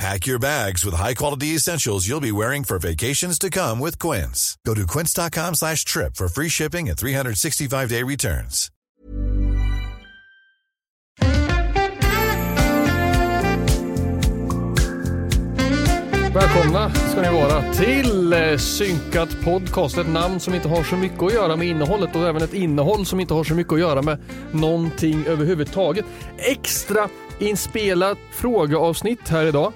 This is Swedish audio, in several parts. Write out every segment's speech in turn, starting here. Pack your bags with high-quality essentials you'll be wearing for vacations to come with Quince. Go to quince.com slash trip for free shipping and 365-day returns. Välkomna ska ni vara till eh, Synkat Podcast. Ett namn som inte har så mycket att göra med innehållet och även ett innehåll som inte har så mycket att göra med någonting överhuvudtaget. Extra inspelat frågeavsnitt här idag.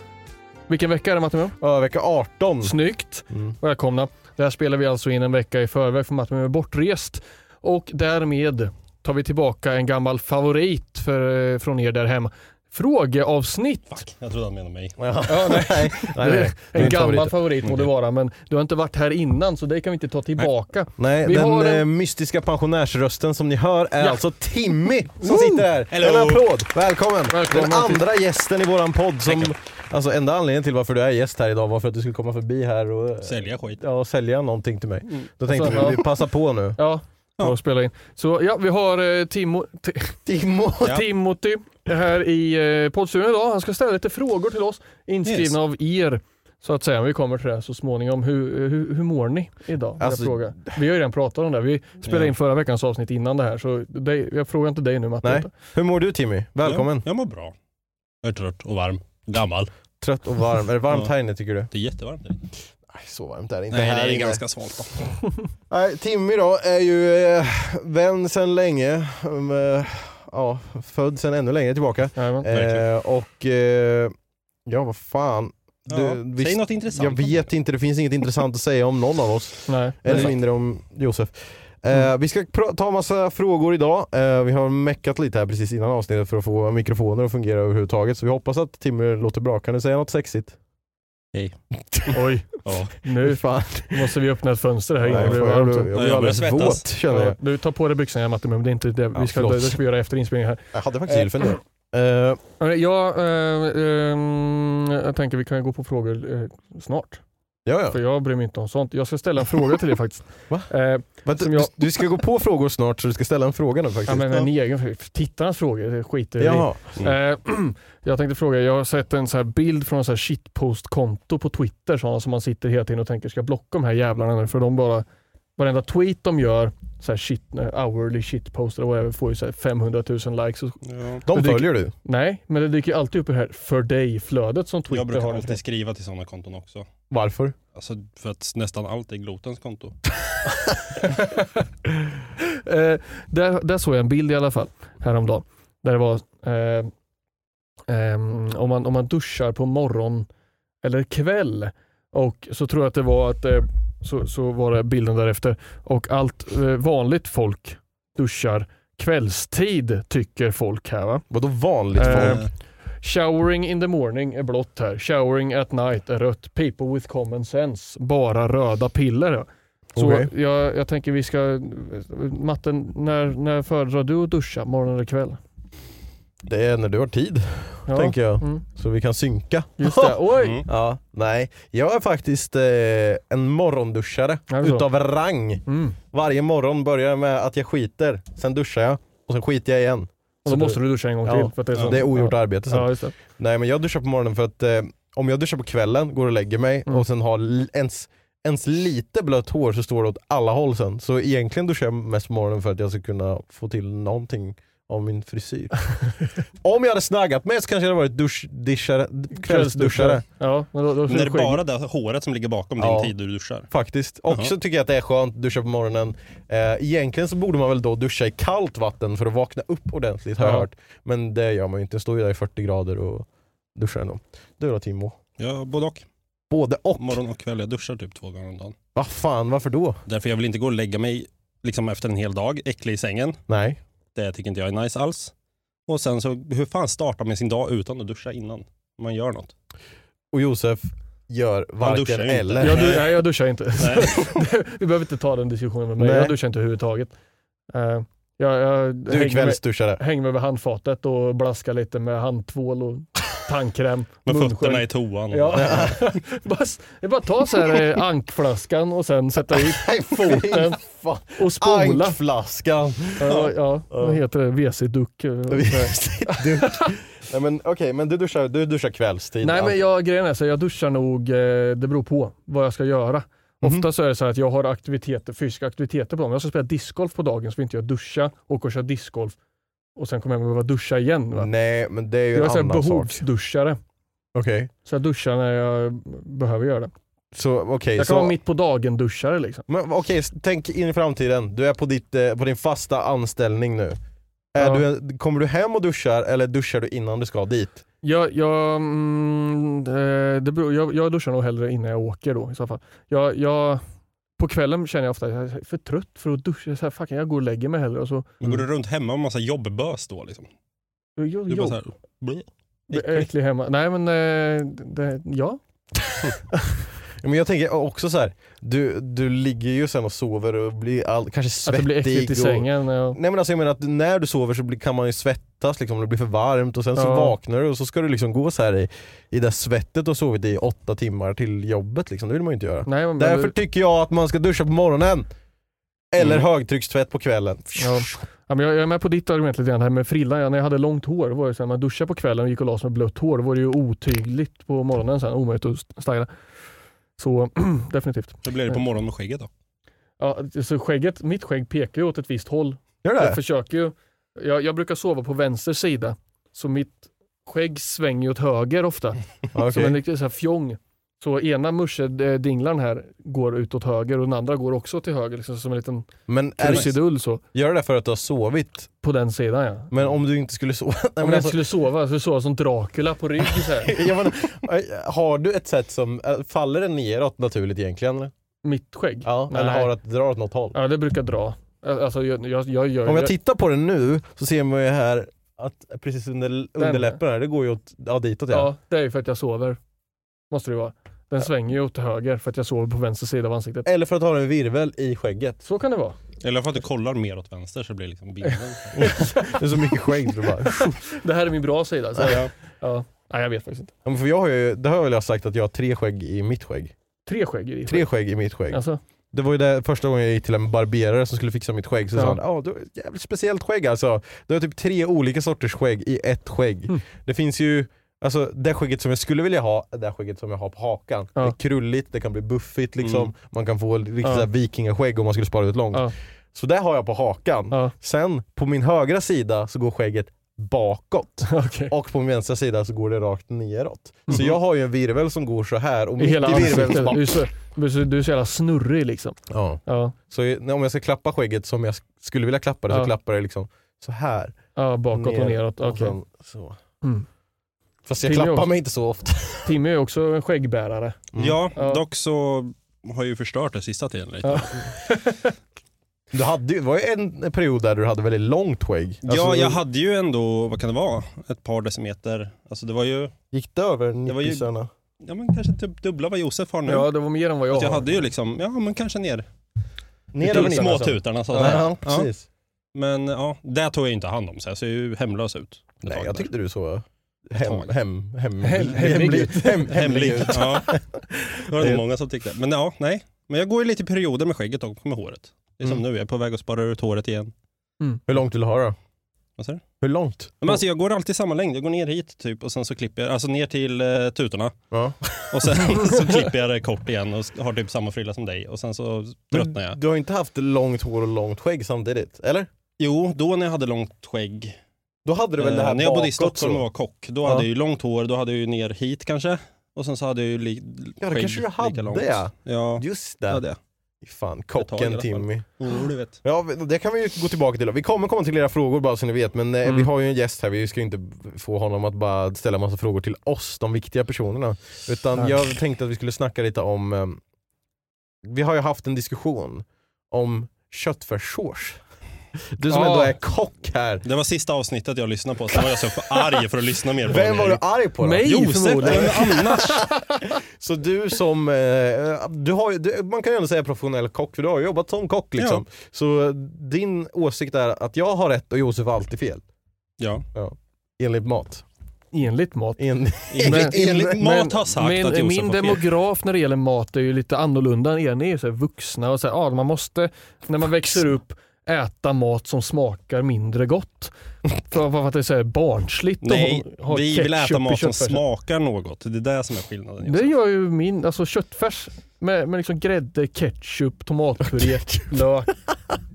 Vilken vecka är det Martin? Ja, vecka 18. Snyggt! Välkomna. Det här spelar vi alltså in en vecka i förväg för Martin är bortrest. Och därmed tar vi tillbaka en gammal favorit för, eh, från er där hemma. Frågeavsnitt! Jag trodde han menade mig. nej. nej, nej. En Min gammal favorit. Mm. favorit, må det vara, men du har inte varit här innan så det kan vi inte ta tillbaka. Nej, Vi den har en- eh, mystiska pensionärsrösten som ni hör är Ja. alltså Timmy som sitter här. Hello. En applåd! Välkommen! Välkommen Den till- andra gästen i våran podd som... Alltså enda anledningen till varför du är gäst här idag var för att du skulle komma förbi här och eh, Sälja skit. ja, och sälja någonting till mig. Då tänkte Alltså, vi, vi passar på nu. Ja, ja. spela in. Så ja, vi har eh, Timo, T- Timo! Ja. Timothy här i eh, poddstudion idag. Han ska ställa lite frågor till oss, inskrivna Yes. av er. Så att säga, vi kommer till det här så småningom. Hur, hur, hur mår ni idag? vill Alltså- jag fråga. Vi har ju redan pratat om det. här. Vi spelade Ja. in förra veckans avsnitt innan det här, så dig, jag frågar inte dig nu Matte. Nej. Hur mår du Timmy? Välkommen! Jag, jag mår bra. Jag är trött och varm. Gammal. Trött och varm. Är det varmt Ja. här inne tycker du? Det är jättevarmt. här. Nej, så varmt är det inte Nej, här det är inne. ganska svalt. då. Nej, Timmy då är ju eh, vän sedan länge. Um, eh, ja, född sedan ännu längre tillbaka. Jajamän. Eh, Verkligen. och eh, ja, vad fan. Ja. Du, Säg visst, något intressant. jag vet inte, det finns inget intressant att säga om någon av oss. Nej. Eller Nej. mindre om Josef. Eh, Mm. Vi ska pra- ta massa frågor idag. Eh, vi har meckat lite här precis innan avsnittet för att få mikrofoner att fungera överhuvudtaget. Så vi hoppas att Timmy låter bra. Kan du säga något sexigt? Oj, Ja. nu Fan. måste vi öppna ett fönster här inne. Nej, Det blir fan, jag, varmt. blir- jag jag blir börjar alldeles svettas. våt känner jag. Ja, du tar på dig byxorna igen Matte, men det är inte det vi ska, förlåt. det ska vi göra efter inspelningen Jag hade faktiskt gylfen där. Eh, här. Jag, eh, ehm, jag tänker vi kan gå på frågor eh, snart, ja, ja. för jag bryr mig inte om sånt. Jag ska ställa en fråga till dig faktiskt. Va? Eh, Vänta, Som jag- du, du ska gå på frågor snart så du ska ställa en fråga nu ja, faktiskt. men en egen fråga. Tittarnas frågor, det skiter vi i. Jaha. Mm. Eh, jag tänkte fråga, jag har sett en så här bild från en så här shitpost-konto på Twitter, sådana som man sitter hela tiden och tänker ska jag blocka de här jävlarna nu? För de bara, varenda tweet de gör, så här shit, hourly shitpost eller whatever, får ju så här 500 000 likes. Och, Ja. De Men det- följer du. nej, men det dyker ju alltid upp det här för dig-flödet som Twitter Jag brukar har. alltid skriva till sådana konton också. Varför? Alltså för att nästan allt är Glotens konto. eh, där, där såg jag en bild i alla fall häromdagen. Där det var eh, ehm, om, man, om man duschar på morgon eller kväll och så tror jag att det var att eh, så, så var det bilden därefter och allt eh, vanligt folk duschar kvällstid tycker folk här va. Vadå vanligt Eh, folk? Eh, Showering in the morning är blått här. Showering at night är rött. People with common sense, bara röda piller. Så Okej. jag, jag tänker vi ska... Matten, när, när föredrar du att duscha? Morgon eller kväll? Det är när du har tid. Ja. tänker jag. Mm. Så vi kan synka. Just det. Oj! Mm. Ja, nej. Jag är faktiskt eh, en morgonduschare Är det så? utav rang. Mm. Varje morgon börjar jag med att jag skiter, sen duschar jag och sen skiter jag igen. Och så måste du duscha en gång Ja. till. För att det, är så. Det är ogjort arbete sen. Ja, just det. Nej men jag duschar på morgonen för att eh, om jag duschar på kvällen, går och lägger mig Mm. och sen har l- ens, ens lite blött hår så står det åt alla håll sen. Så egentligen duschar jag mest på morgonen för att jag ska kunna få till någonting av min frisyr. om jag hade snaggat mig så kanske jag hade varit duschdischare, kvällsduschare. Ja, men då, då Men är det skägg. bara det håret som ligger bakom Ja. din tid du duschar? Faktiskt. Och så Jaha. tycker jag att det är skönt att duscha på morgonen. Eh, egentligen så borde man väl då duscha i kallt vatten för att vakna upp ordentligt har jag Ja. hört. Men det gör man ju inte, står ju där i 40 grader och duschar ändå. Du då Timo? Ja, både och. Både och. Morgon och kväll. Jag duschar typ två gånger om dagen. Vad fan, varför då? Därför jag vill inte gå och lägga mig liksom efter en hel dag äcklig i sängen. Nej. Det tycker inte jag är nice alls. Och sen så, hur fan startar man sin dag utan att duscha innan man gör något? Och Josef gör varken duschar ju inte. eller. Jag, du, nej, jag duschar inte. Nej. Vi behöver inte ta den diskussionen med mig. Nej. Jag duschar inte överhuvudtaget. Eh, jag, jag du är hänger, med, kvällsduschare. hänger med vid handfatet och blaskar lite med handtvål och tandkräm. Med munskölj. fötterna i toan. Ja. bara, s- det är bara att ta så här eh, ankflaskan och sen sätta i Nej, foten fan. och spola. Ankflaskan. Ja, ja, vad heter det? WC-duck. eh, sådär. Du- Nej men okej, men du duschar, du duschar kvällstid. Nej men jag, grejen är så här, jag duschar nog, eh, det beror på vad jag ska göra. Ofta så är det så här att jag har aktiviteter, fysiska aktiviteter på dagen. Jag ska spela discgolf på dagen så vill inte jag duscha, åka och köra discgolf och sen kommer jag behöva duscha igen. Va? Nej men Mm, det är ju Jag är en så här annan sak. behovsduschare. Okej. Så jag duschar när jag behöver göra det. Så okej, Jag kan så... vara mitt på dagen-duschare liksom. Men okej, s- tänk in i framtiden. Du är på, ditt, eh, på din fasta anställning nu. Är Ja. du, kommer du hem och duschar eller duschar du innan du ska dit? Jag, jag, mm, eh, det beror, jag, jag duschar nog hellre innan jag åker då i så fall. Jag, jag, på kvällen känner jag ofta att jag är för trött för att duscha. Så här, fuck, jag går och lägger mig hellre. Och så, Men går Mm. du runt hemma med massa jobbbös då liksom? jo, Du jo. är bara så här, bleh. äckligt. Äcklig hemma. Nej men, eh, det, ja. Men jag tänker också så här. Du, du ligger ju sen och sover och blir all, kanske Att svettig. det blir äckligt i och, sängen. Ja. Nej men alltså jag menar att när du sover så blir, kan man ju svettas liksom, det blir för varmt och sen så Ja. vaknar du och så ska du liksom gå så här i, i det svettet du har sovit i åtta timmar till jobbet liksom. Det vill man ju inte göra. Nej, men, Därför tycker jag att man ska duscha på morgonen. Eller Mm. högtryckstvätt på kvällen. Ja. Ja, men jag, jag är med på ditt argument lite grann, det här med frillan. Ja, när jag hade långt hår, var det så här, man duschade på kvällen och gick och la sig med blött hår. Då var det ju otygligt på morgonen sen, omöjligt att styla. Så definitivt. Så blir det på morgonen med skägget då. Ja, så skägget, mitt skägg pekar ju åt ett visst håll. Gör det? Jag försöker ju. Jag, jag brukar sova på vänster sida, så mitt skägg svänger ju åt höger ofta. Ja, okej. Som en riktig så här fjong. Så ena muschedinglan här går ut åt höger och den andra går också till höger. Liksom, som en liten Men är det, krusidull så. gör det för att du har sovit. På den sidan ja. Om Men om du inte skulle sova... Nej, jag men alltså, skulle sova, så skulle jag sova som Dracula på rygg så här. jag menar, har du ett sätt som... äh, Faller den neråt naturligt egentligen? eller? Mitt skägg. Ja, Nej. eller har att dra åt något håll? ja, det brukar dra. Alltså jag, jag, jag gör Om jag jag- tittar på den nu så ser man ju här att precis under underläppen här, det går ju åt, ja, ditåt ja. Ja, det är ju för att jag sover. Måste det vara. Den svänger ju åt höger för att jag sover på vänster sida av ansiktet. Eller för att ha en virvel i skägget. Så kan det vara. Eller för att du kollar mer åt vänster så det blir liksom bilden. Det är så mycket skägg så det bara... Det här är min bra sida. Så. Ja. Ja. Nej, jag vet faktiskt inte. Ja, men för jag har ju, det har jag väl jag sagt att jag har tre skägg i mitt skägg. Tre skägg i ditt Tre skägg i mitt skägg. Mm. Alltså, Det var ju det första gången jag gick till en barberare som skulle fixa mitt skägg, så Ja. sa han "Ja, du har ett jävligt speciellt skägg alltså. Du har typ tre olika sorters skägg i ett skägg. Mm. Det finns ju, alltså det skägget som jag skulle vilja ha, är det skägget som jag har på hakan. Ja. Det är krulligt, det kan bli buffigt liksom, Mm. man kan få riktigt Ja. ja. vikingaskägg om man skulle spara ut långt. Ja. Så det har jag på hakan. Ja. Sen på min högra sida så går skägget bakåt okej. och på min vänstra sida så går det rakt neråt. Så jag har ju en virvel som går så här och Mhm. I mitt i hela virveln så ansiktet. Du är, bara... så, du är så- du är så jävla snurrig liksom. Ja. Ja, Så i- när- om jag ska klappa skägget som jag sk- skulle vilja klappa det Ja. så klappar jag liksom så här. ja bakåt och Ner. neråt. Och Okej. sen så. Mm. Fast jag Timmy klappar också. mig inte så ofta. Timmy är ju också en skäggbärare. Mm. Ja, Ja. dock så har jag ju förstört det sista tiden lite. Ja. Du hade, ju- det var ju en period där du hade väldigt långt skägg. Alltså, ja, jag hade ju ändå, vad kan det vara, ett par decimeter. Alltså det var ju, Gick det över var ju- nippisarna? ja men kanske typ dubbla vad Josef har nu. Ja, det var mer än vad jag, Så jag har. hade ju liksom, ja men kanske ner. Ner Till över nippisarna. Småtutarna så att säga. Ja, precis. Men ja, det tog jag ju inte hand om så jag ser ju hemlös ut. Nej, jag tyckte du såg hem, hem, hem, Hem- hemligt. hem, Hemligt. hemligt. Ja. Det var det Det- nog många som tyckte. Men ja, nej. Men jag går ju lite i perioder med skägget och med håret. Det är som Mm. nu, jag är på väg att spara ut håret igen. Hur långt vill du ha då? Vad säger du? Hur långt? Men alltså, jag går alltid samma längd. Jag går ner hit typ och sen så klipper jag, alltså ner till eh, tutorna. Ja. Och sen så klipper jag det kort igen och har typ samma frilla som dig. Och sen så tröttnar jag. Du har inte haft långt hår och långt skägg samtidigt, eller? Jo, då när jag hade långt skägg. Då hade du väl det eh, här när jag bodde i bakåt Stockholm så? och var kock, då Ja. hade jag ju långt hår, då hade jag ju ner hit kanske. Och sen så hade jag ju li- Ja, det skägg kanske du hade lika långt. ja. Ja, Just det det. hade jag. Fan, Ett tag i alla kocken fall. Timmy. Jo, du vet. Ja, det kan vi ju gå tillbaka till. Vi kommer komma till era frågor bara så ni vet, men eh, Mm. vi har ju en gäst här. Vi ska ju inte få honom att bara ställa massa frågor till oss, de viktiga personerna. Utan Tack. jag tänkte att vi skulle snacka lite om, eh, vi har ju haft en diskussion om köttfärssås. Du som Ja. ändå är kock här, Det var sista avsnittet jag lyssnade på, sen var jag så för arg för att lyssna mer på vem var du det. arg på då? Mig? Josef, Förmodligen. vem annars? Så du som, eh, du har, ju- du, man kan ju ändå säga professionell kock för du har ju jobbat som kock liksom. Så eh, din åsikt är att jag har rätt och Josef har alltid fel, Ja. enligt mat. Enligt mat. En, Enligt, enligt mat har sagt men, att Josef Min har fel. demograf när det gäller mat är ju lite annorlunda än er. Ni är ju så här vuxna och så här, ah, man måste när man växer upp äta mat som smakar mindre gott. För, för att det är så här barnsligt att Nej, ha- ha vi vill ketchup i äta mat som köttfärsen. smakar något. Det är det som är skillnaden. Josef. Det gör ju min, alltså köttfärs med, med liksom grädde, ketchup, tomatpuré, lök.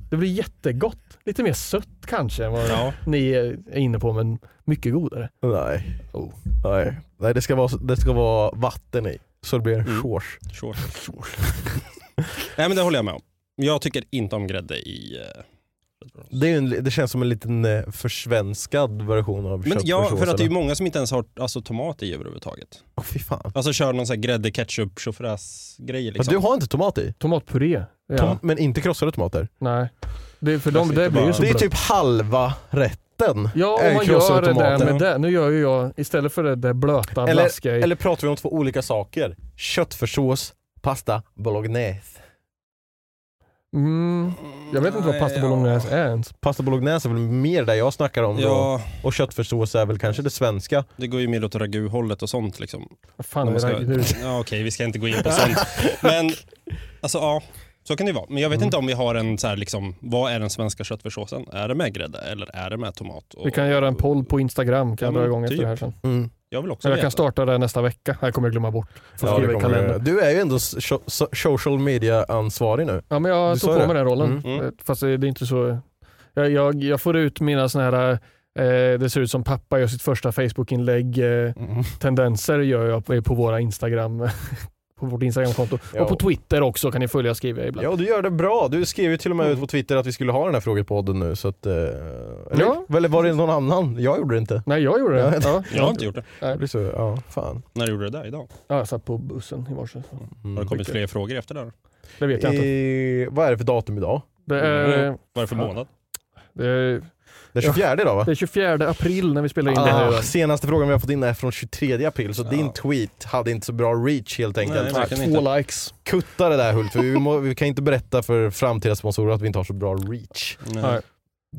Det blir jättegott. Lite mer sött kanske än vad Ja. ni är inne på men mycket godare. nej. Oh. nej. Nej, det ska, vara, det ska vara vatten i. Så det blir Mm. sås. Sure. Nej men det håller jag med om. Jag tycker inte om grädde i... eh, Det, är ju en, det känns som en liten eh, försvenskad version av Men ja, köttfärssås, för att det är eller? många som inte ens har alltså, tomat i överhuvudtaget. Åh, fy fan. Alltså kör någon sån här grädde, ketchup, tjofräs-grej Fast liksom. Du har inte tomat i? Tomatpuré? Ja. Tom, men inte krossade tomater? Nej. Det, för Jag de, sitter det blir bara- ju så Det är blött. typ halva rätten. Ja, är om man krossade gör det där tomater. med det. Nu gör ju jag, istället för det där blöta Eller, blaskiga i- eller pratar vi om två olika saker? Köttfärssås, pasta, bolognese. mm, Jag vet inte vad pasta Nej, ja. bolognese är ens. Pasta bolognese är väl mer det jag snackar om då. Ja, Och köttfärssås är väl kanske det svenska. det går ju mer åt ragu-hållet och sånt liksom. Vad fan Om är man det ska... här? Det är- Ja, okej, vi ska inte gå in på sånt. Men alltså ja, så kan det ju vara. Men jag vet Mm. inte om vi har en så här liksom, vad är den svenska köttfärssåsen? Är det med grädde eller är det med tomat? Och... Vi kan göra en poll på Instagram, kan Ja, jag men dra igång efter typ. det här sen. Jag vill också Eller jag veta. kan starta det nästa vecka. Jag kommer jag glömma bort. Mm. Får Ja, det skriva i kommer du kalendern. göra. du är ju ändå so so social media ansvarig nu. Ja, men Du jag sa tog på det. mig den rollen. Mm. Mm. Fast det är inte så... Jag, jag, jag får ut mina såna här, eh, det ser ut som pappa gör sitt första Facebook-inlägg. Eh, Mm. tendenser gör jag på, på våra Instagram, på vårt Instagram-konto. Ja. Och på Twitter också kan ni följa och skriva ibland. Ja, och du gör det bra. Du skrev ju till och med ut på Twitter att vi skulle ha den här frågepodden nu. Så att, eh, Ja. eller, eller var det någon annan? Jag gjorde det inte. Nej, jag gjorde det. Ja. Jag har inte gjort det. Det blir så, ja, fan. När gjorde du det där idag? Ja, jag satt på bussen i morse. så Mm. Har det kommit fler frågor efter det? här? Det vet jag inte. I, vad är det för datum idag? Det är, Vad är det för Ja. månad? det är, Det är 24 idag va? det är 24 april när vi spelar in det här. Ah, senaste frågan vi har fått in är från 23 april, så din tweet hade inte så bra reach helt enkelt. Nej, verkligen Två inte. likes. Kutta det där Hult, för vi, må, vi kan inte berätta för framtida sponsorer att vi inte har så bra reach. Nej. Nej.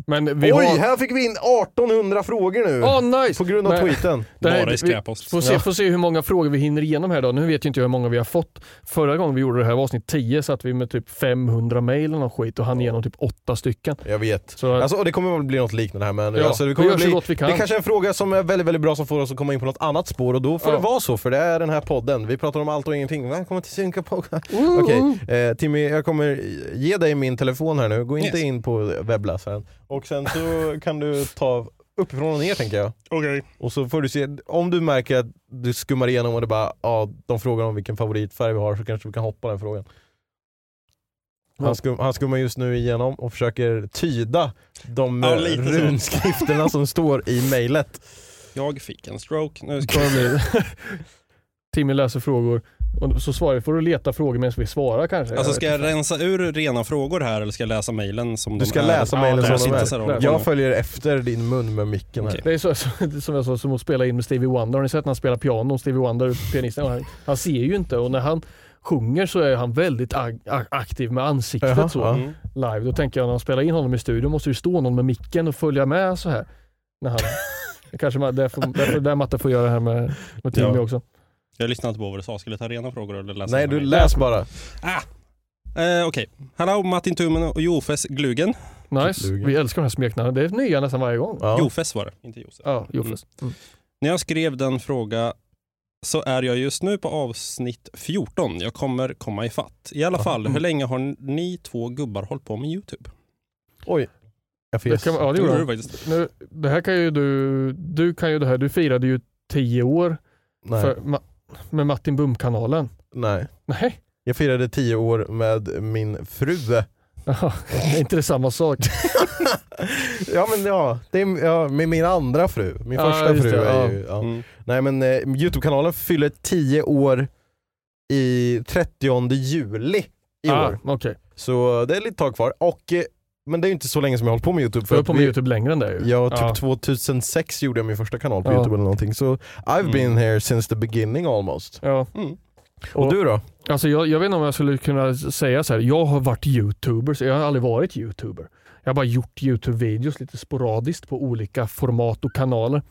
Men vi Oj, har... här fick vi in 1800 frågor nu! Åh, nice! På grund av Men- tweeten. Det här- Bara i vi- skräppost. Får se, får se hur många frågor vi hinner igenom här idag. Nu vet ju inte jag hur många vi har fått. Förra gången vi gjorde det här var avsnitt 10 så att vi med typ 500 mejl eller någon skit och hann igenom typ 8 stycken. Jag vet. Så, Alltså, och det kommer väl bli något liknande här men Ja, alltså, det, vi kommer gör så bli, gott vi kan. det kanske är en fråga som är väldigt, väldigt bra som får oss att komma in på något annat spår och då får Ja. det vara så för det är den här podden. Vi pratar om allt och ingenting. Välkommen till Synka Podcast. Okej, eh, Timmy jag kommer ge dig min telefon här nu. Gå inte Yes. in på webbläsaren. Och sen så kan du ta uppifrån och ner tänker jag. Okej. Och så får du se, om du märker att du skummar igenom och det bara, ja de frågar om vilken favoritfärg vi har så kanske vi kan hoppa den frågan. Han, skum, han skummar just nu igenom och försöker tyda de Ja, eh, lite så. runskrifterna som står i mejlet. Jag fick en stroke. Nu ska... Kommer det bli. Timmy läser frågor och så svarar vi. Får du leta frågor medan vi svarar kanske? Alltså vet ska jag rensa ur rena frågor här eller ska jag läsa mejlen som Du de ska är? läsa Ja, mejlen som där de sitter är. så här och- Jag följer efter din mun med micken här. Okej. Det är så, så, som jag sa, som att spela in med Stevie Wonder. Har ni sett när han spelar piano? Stevie Wonder, pianisten, han, han ser ju inte och när han sjunger så är han väldigt ag- a- aktiv med ansiktet Jaha, så ja. Mm. live. Då tänker jag när han spelar in honom i studion måste det ju stå någon med micken och följa med så här. När han, Kanske ma- där, får, där, får, där Matte får göra det här med, med Timmy Ja. också. Jag lyssnade inte på vad du sa. Skulle jag ta rena frågor eller läsa? Nej, mina du mejl? läs bara. Ah! Eh, Okej. Hallå Martin Tummen och Jofes Glugen. Nice. Duger. Vi älskar de här smeknamnen. Det är nya nästan varje gång. Ja. Jofes var det, inte Josef. Ja, Jofes. Mm. När jag skrev den fråga så är jag just nu på avsnitt 14. Jag kommer komma i fatt. I alla fall, Mm. hur länge har ni två gubbar hållit på med YouTube? Oj. Jag Det, fes. kan, ja, det gjorde du de. faktiskt. nu, det här kan ju du, du kan ju det här. Du firade ju tio år Nej. för, ma, med Martin Bum-kanalen. Nej. Nej, Jag firade tio år med min fru. Jaha, det är inte det samma sak. Ja men ja, det är, ja med min andra fru. Min Ja, första just fru det, är ja. ju... Ja. Mm. Nej men eh, Youtube-kanalen fyller 10 år i 30 juli i år. Ah, Okej, Så det är lite tag kvar. Och, eh, men det är ju inte så länge som jag har hållit på med Youtube. för jag att på med vi- Youtube Ah. längre än det ju. Ja, typ Ja. 2006 gjorde jag min första kanal på Ja. Youtube eller någonting. Så I've Mm. been here since the beginning almost. Ja. Mm. Och, du då? Alltså jag, jag vet inte om jag skulle kunna säga så här. jag har varit youtuber, så jag har aldrig varit youtuber. Jag har bara gjort youtube-videos lite sporadiskt på olika format och kanaler.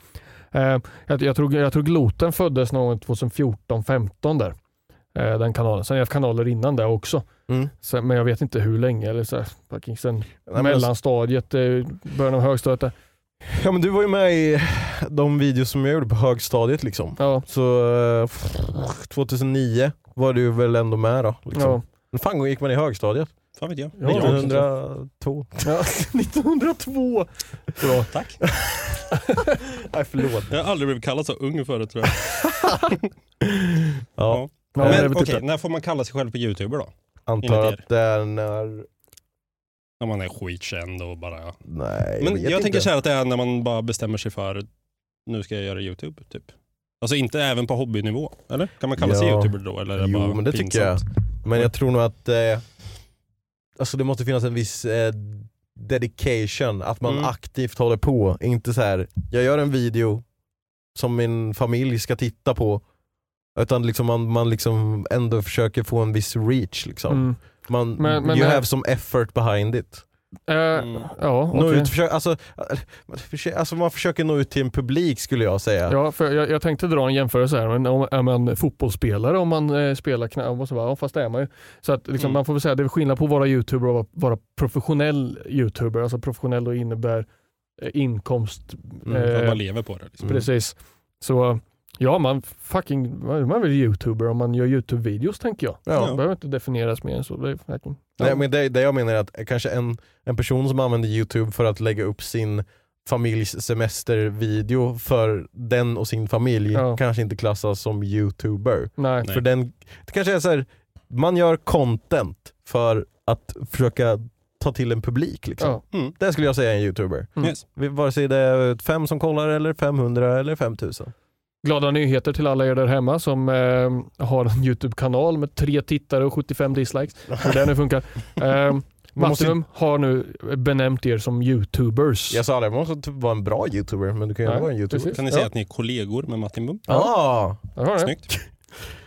Eh, jag, jag, tror, jag tror Gloten föddes någon gång 2014-15 där. Eh, den kanalen. Sen har jag haft kanaler innan det också. Mm. Sen, men jag vet inte hur länge. Eller så här, fucking sen Nej, men- mellanstadiet, eh, början av högstadiet. där. Ja men du var ju med i de videos som jag gjorde på högstadiet liksom. Ja, Så eh, 2009 var du väl ändå med då? Liksom. ja, Men fan gick man i högstadiet? Fan vet jag. Ja, Nej, jag vet inte. 1902. ja. 1902! Bra, tack. Nej förlåt. Jag har aldrig blivit kallad så ung förut tror jag. Ja, Ja, det är Men väl typ okej, det. när får man kalla sig själv på YouTuber då? antar Enligt er. att det är när... När man är skitkänd och bara... Nej, Men vet jag, inte. tänker så här att det är när man bara bestämmer sig för nu ska jag göra YouTube, typ. Alltså inte även på hobbynivå, eller? Kan man kalla sig Ja. YouTuber då? Eller är det Jo, bara men det pinsamt? tycker jag. Men jag tror nog att eh, alltså det måste finnas en viss eh, dedication, att man Mm. aktivt håller på. Inte så här, jag gör en video som min familj ska titta på. Utan liksom man, man liksom ändå försöker få en viss reach. Liksom. Mm. Man, Men- men you det- have some effort behind it. Eh, Mm. Ja, Nå okej. ut, försök, alltså, eh, man försö- alltså man försöker nå ut till en publik skulle jag säga. Ja, för jag, jag tänkte dra en jämförelse här. Men om, är man fotbollsspelare om man eh, spelar knä, och så bara, ja, fast det är man ju. Så att, liksom, Mm. man får väl säga det är skillnad på att vara youtuber och att vara professionell youtuber. Alltså professionell då innebär eh, inkomst. Mm, eh, Man bara lever på det. Liksom. Mm. Precis. Så ja, man fucking, man man är väl youtuber om man gör youtube-videos tänker jag. Ja. Det behöver inte definieras mer än så. Det är fucking, Nej, men det, det jag menar är att kanske en, en person som använder youtube för att lägga upp sin familjs semestervideo för den och sin familj Ja. kanske inte klassas som youtuber. nej. Nej. För den, det kanske är så här, man gör content för att försöka ta till en publik. Liksom. Ja. Mm. Det skulle jag säga är en youtuber. Mm. Yes. Vi- Vare sig det är fem som kollar eller 500 eller 5000. Glada nyheter till alla er där hemma som eh, har en YouTube-kanal med tre tittare och 75 dislikes. Hur det nu funkar. Eh, Man måste- Mattenum har nu benämt er som YouTubers. Jag sa det, man måste typ vara en bra youtuber, men du kan ju Nej, ändå vara en youtuber. precis. Kan ni Ja. säga att ni är kollegor med Martin Bum? Ah, Där har ni. Snyggt.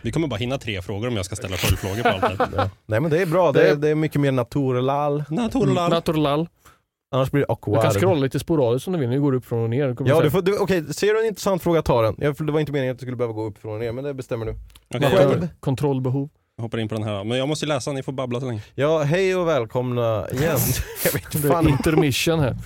Vi kommer bara hinna tre frågor om jag ska ställa följdfrågor på allt det här. nej men det är bra, det Det- är, det är mycket mer naturlal. Naturlar. Naturlal. Annars blir det Du awkward. kan scrolla lite sporadiskt om du vill. Nu går du upp från och ner. Kommer Ja, säga- du får, du, okej, ser du en intressant fråga, ta den. Jag, för det var inte meningen att du skulle behöva gå upp från och ner, men det bestämmer du. Okej, Kontroll- själv. Kontrollbehov. jag hoppar in på den här. Men jag måste ju läsa, ni får babbla så länge. Ja, hej och välkomna igen. jag vet Det inte är fan. intermission här.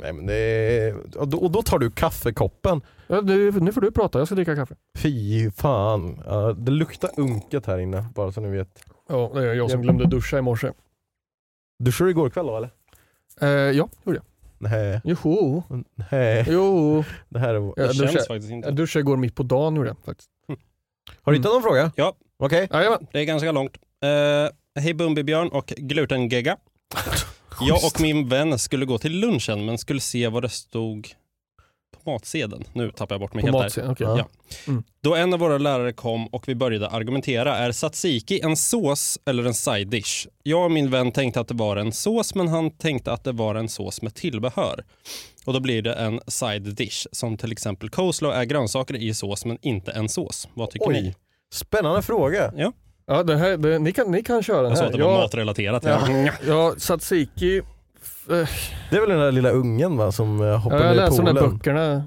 Nej, men det är, och, då, och då tar du kaffekoppen. Ja, nu, nu får du prata. Jag ska dricka kaffe. Fy fan. Ja, det luktar unket här inne, bara så ni vet. Ja, det är jag som glömde duscha i morse. Duschade du igår kväll då eller? Eh, ja, gjorde jag. Nej. Joho. Nej. Jo. Eh. Det här är... Det Jag känns duschade, faktiskt inte. jag duschade igår mitt på dagen. Gjorde jag, faktiskt. Mm. Har du hittat någon fråga? Ja. Okej. Jajamän. Det är ganska långt. Eh, Hej Bumbibjörn och Glutengegga. Jag och min vän skulle gå till lunchen men skulle se vad det stod på matsedeln. Nu tappar jag bort mig På helt där. matsedeln, okej. Mm. Ja. Då en av våra lärare kom och vi började argumentera. Är tzatziki en sås eller en side dish? Jag och min vän tänkte att det var en sås men han tänkte att det var en sås med tillbehör. Och då blir det en side dish som till exempel coleslaw är grönsaker i sås men inte en sås. Vad tycker ni? Oj. Spännande fråga. Ja, Ja, det här, det, ni, kan, ni kan köra den jag sa här. att det var matrelaterat. Ja. ja, tzatziki. eh, Det är väl den där lilla ungen va, som eh, hoppade jag ner i läser de där poolen? böckerna.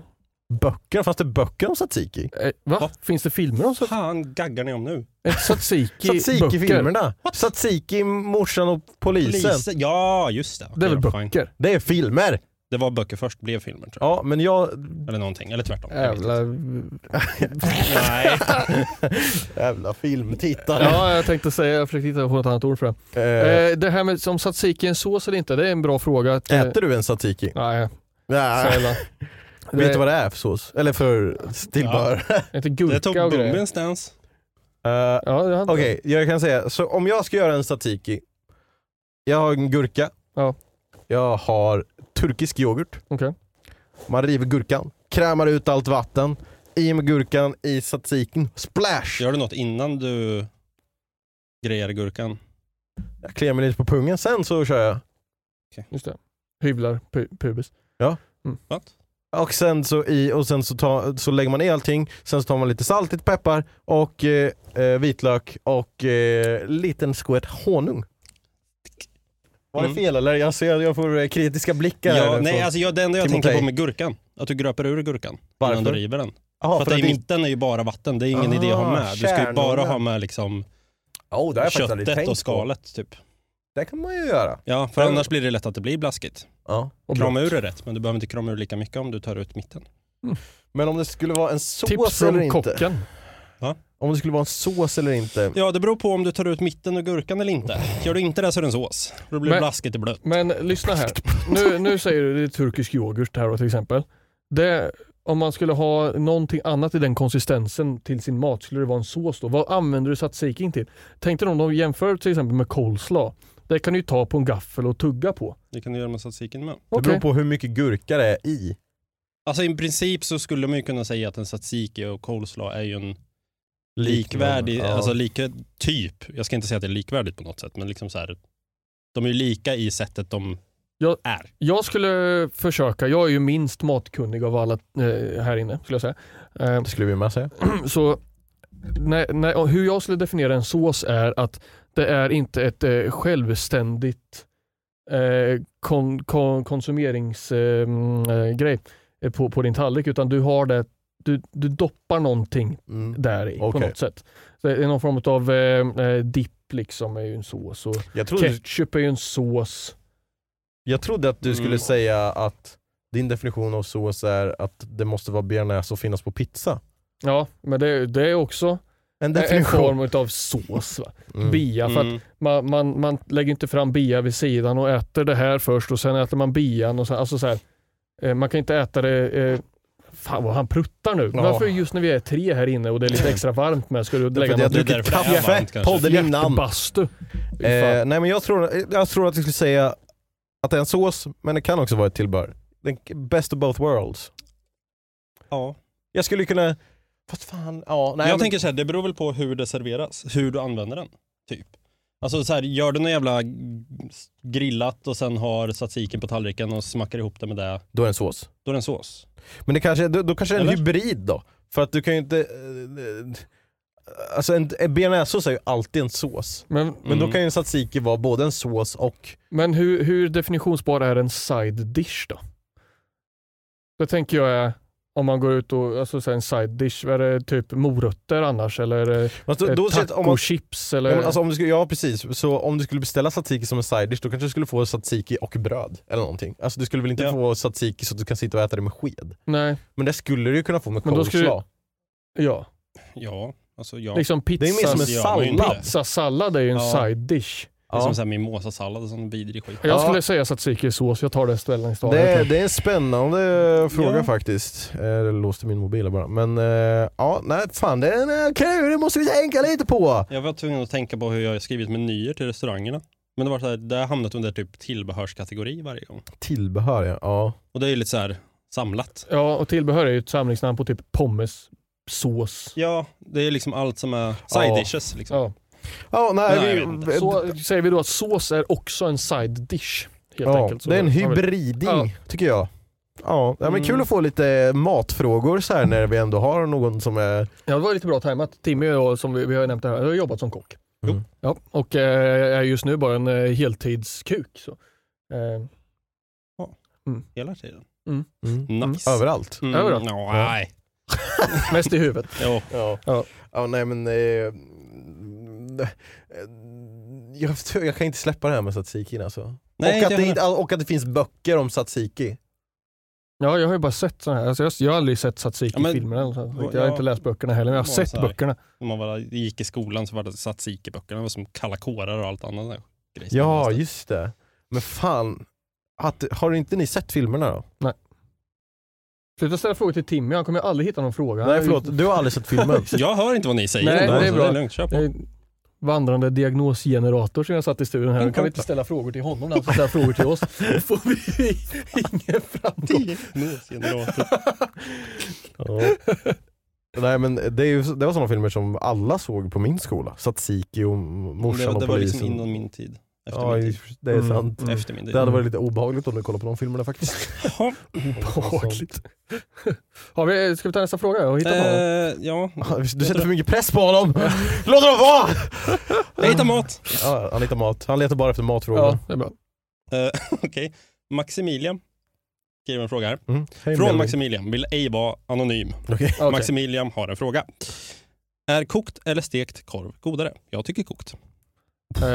Böcker? Fanns det böcker om tzatziki? Eh, va? Va? Finns det filmer om tzatziki? Fan gaggar ni om nu? Eh, Tzatziki, böcker. Tzatziki-filmerna? Tzatziki, morsan och polisen. Polisen. Ja, just det. Okej, Det är väl då, fine. böcker? Det är filmer! Det var böcker först, blev filmer tror jag. Ja, men jag... Eller någonting, eller tvärtom. Jag vet inte. Jävla... Nej. Jävla filmtittare. Ja, jag tänkte säga, jag försökte hitta på något annat ord för det. Eh, Eh, det här med som tzatziki är en sås eller inte, det är en bra fråga. Att, eh, äter du en tzatziki? Nej, Nej. sällan. Vet du vad det är för sås? Eller för tillbehör? det heter Det gurka tog och grejer. Bumbins dans. Eh, Ja, det hade Okej, jag kan säga. Så om jag ska göra en tzatziki. Jag har en gurka. Ja. Jag har turkisk yoghurt. Okej. Man river gurkan, krämar ut allt vatten. I med gurkan i tzatzikin. Splash! Gör du något innan du grejar gurkan? Jag kliar mig lite på pungen, sen så kör jag. Just det. Hyvlar pu- pubis. What? Och sen så, i, och sen så, ta, så lägger man i allting. Sen så tar man lite salt, lite peppar och eh, eh, vitlök och eh, liten skvätt honung. Var det Mm. fel eller? Jag ser jag får eh, kritiska blickar. Ja, här nej, från- alltså jag, det enda jag Timotej. tänker på med gurkan, att du gröper ur gurkan innan Varför? du river den. Jaha, för att, i det är- mitten är ju bara vatten, det är ingen Ah, idé att ha med. Du ska ju bara kärnorna. ha med liksom Oh, det har jag faktiskt aldrig köttet tänkt och på. skalet typ. Det kan man ju göra. Ja, för Ja. annars blir det lätt att det blir blaskigt. Ja. Och Krama blått. ur är rätt, men du behöver inte krama ur lika mycket om du tar ut mitten. Men om det skulle vara en sås Tips eller från inte. kocken. Om det skulle vara en sås eller inte. Ja, det beror på om du tar ut mitten och gurkan eller inte. Gör du inte det så är det en sås. Då blir det Men- blaskigt och blött. Men lyssna här. Nu, nu säger du det är turkisk yoghurt här då, till exempel. Det, om man skulle ha någonting annat i den konsistensen till sin mat, skulle det vara en sås då? Vad använder du tzatzikin till? Tänk dig om de jämför till exempel med coleslaw. Det kan du ju ta på en gaffel och tugga på. Det kan du göra med tzatzikin med. Det beror Okej. på hur mycket gurka det är i. Alltså i princip så skulle man ju kunna säga att en tzatziki och coleslaw är ju en likvärdig, Ja. alltså lika typ. Jag ska inte säga att det är likvärdigt på något sätt, men liksom så här. De är ju lika i sättet de Ja. är. Jag skulle försöka, jag är ju minst matkunnig av alla eh, här inne skulle jag säga. Eh, Det skulle vi med säga. så när, när, och hur jag skulle definiera en sås är att det är inte ett eh, självständigt eh, kon, kon, konsumeringsgrej eh, mm, eh, grej, eh, på, på din tallrik utan du har det, du, du doppar någonting Mm. där i på Okej. något sätt. Så det är någon form av eh, eh, dipp liksom är ju en sås och Jag, trodde, ketchup är ju en sås. jag trodde att du skulle Mm. säga att din definition av sås är att det måste vara bearnaise och finnas på pizza. Ja, men det, det är också En en definition. form av sås. Va? Mm. Bia, för att Mm. Man, man, man lägger inte fram bia vid sidan och äter det här först och sen äter man bian. Och sen, alltså så här, eh, man kan inte äta det... Eh, fan vad han pruttar nu. Ja. Varför just när vi är tre här inne och det är lite extra varmt med ska du för lägga att jag något Det är druckit därför det är kaffe. varmt kanske. Podden innan. jättebastu? Fy Eh, fan. nej men jag tror, jag tror att du skulle säga att det är en sås, men det kan också vara ett tillbehör. Den best of both worlds. Ja. Jag skulle kunna... Fast fan, ja. Nej, jag men, tänker så här, det beror väl på hur det serveras, hur du använder den. Typ. Alltså så här, gör du något jävla grillat och sen har tzatzikin på tallriken och smackar ihop det med det, Då är det en sås. då är det en sås. Men det kanske, då, då kanske det är en Eller? hybrid då? För att du kan ju inte... eh, Alltså en, en bearnaisesås är ju alltid en sås. Men, Men Mm. då kan ju en tzatziki vara både en sås och... men hur, hur definitionsbar är en side dish då? Det tänker jag är om man går ut och, alltså så här, en side dish, är det typ morötter annars eller eh, är det Fast då, då, så att om man, tacochips ja, eller? men alltså om du skulle, ja precis, så om du skulle beställa tzatziki som en side dish då kanske du skulle få tzatziki och bröd eller någonting. Alltså du skulle väl inte Ja. få tzatziki så att du kan sitta och äta det med sked? Nej, Men det skulle du ju kunna få med Men då skulle- coleslaw. ja. Ja, alltså ja. Liksom pizza, Det är ju mer som en Pizzas gör man ju inte. sallad. Pizzasallad är ju en Ja. side dish. Det är Ja. som så här mimosasallad och sån vidrig skit. Jag Ja. skulle säga tzatziki i sås, jag tar det ställningstagandet. Det, det är en spännande fråga Ja. faktiskt. Eh, Jag låste min mobil här bara. Men eh, ja, nej fan det är en eh, kul, det måste vi tänka lite på. Jag var tvungen att tänka på hur jag har skrivit menyer till restaurangerna. Men det var så här, det har hamnat under typ tillbehörskategori varje gång. Tillbehör ja. ja. Och det är ju lite så här samlat. Ja, och tillbehör är ju ett samlingsnamn på typ pommes, sås. Ja, det är liksom allt som är side Ja. dishes liksom. Ja. Ja, nej, Nej, jag vi, vet inte. Så säger vi då att sås är också en side dish. Helt ja, enkelt. Så det är en har vi- hybriding Ja. tycker jag. Ja, ja men Mm. kul att få lite matfrågor så här när vi ändå har någon som är... Ja, det var lite bra tajmat. Timmy och jag, som vi, vi har ju nämnt det här, jag har jobbat som kock. Mm. Ja, och eh, jag är just nu bara en eh, heltidskuk. Så. Eh, Ja. Mm. hela tiden. Mm. Nice. Överallt. Mm, Överallt. nå, nej. Mest i huvudet. Jo. Ja. Ja. ja. nej men... Eh, eh, jag, jag kan inte släppa det här med satsikin alltså. Nej, och, inte att det, jag inte- och att det finns böcker om satsiki. Ja, jag har ju bara sett sådana här. Alltså, jag, jag har aldrig sett satsiki Ja, men- i filmerna. eller så. Jag har Ja. inte läst böckerna heller, men jag har Ja, sett så här. böckerna. När man bara gick i skolan så var det satsikiböckerna, det var som kalla kårar och allt annat. där grejs. Ja, just det. Men fan. Att, har inte ni sett filmerna då? Sluta ställa frågor till Timmy, han kommer ju aldrig hitta någon fråga. Nej förlåt, du har aldrig sett filmen. Jag hör inte vad ni säger. Nej, ändå, det är så bra. Det är lugnt, kör på. Jag är vandrande diagnosgenerator som jag satt i studion här. Nu kan vi inte ställa frågor till honom när han ska ställa frågor till oss. Då får vi ingen framgång. Diagnosgenerator. Ja. Nej men det, är ju, det var sådana filmer som alla såg på min skola. Satsiki och morsan det, och det var polisen. liksom innan min tid. Efter ja, min tid. just- det är Mm. sant. Mm. Efter min tid. Det hade varit lite obehagligt om du kollade på de filmerna faktiskt. Jaha. Obehagligt. Har vi, ska vi ta nästa fråga? Jag har hittat på någon. Eh, ja. Du sätter för mycket press på honom! Låt honom vara! Jag hittar mat! Ja, han letar mat. Han letar bara efter matfrågor. Ja, det är bra. Okej. Maximilian skriver en fråga här. Mm. Hej, Från Melvin. Maximilian, vill ej vara anonym. Okej. Ah, Okej. Maximilian har en fråga. Är kokt eller stekt korv godare? Jag tycker kokt. Eh,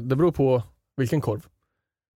det beror på vilken korv.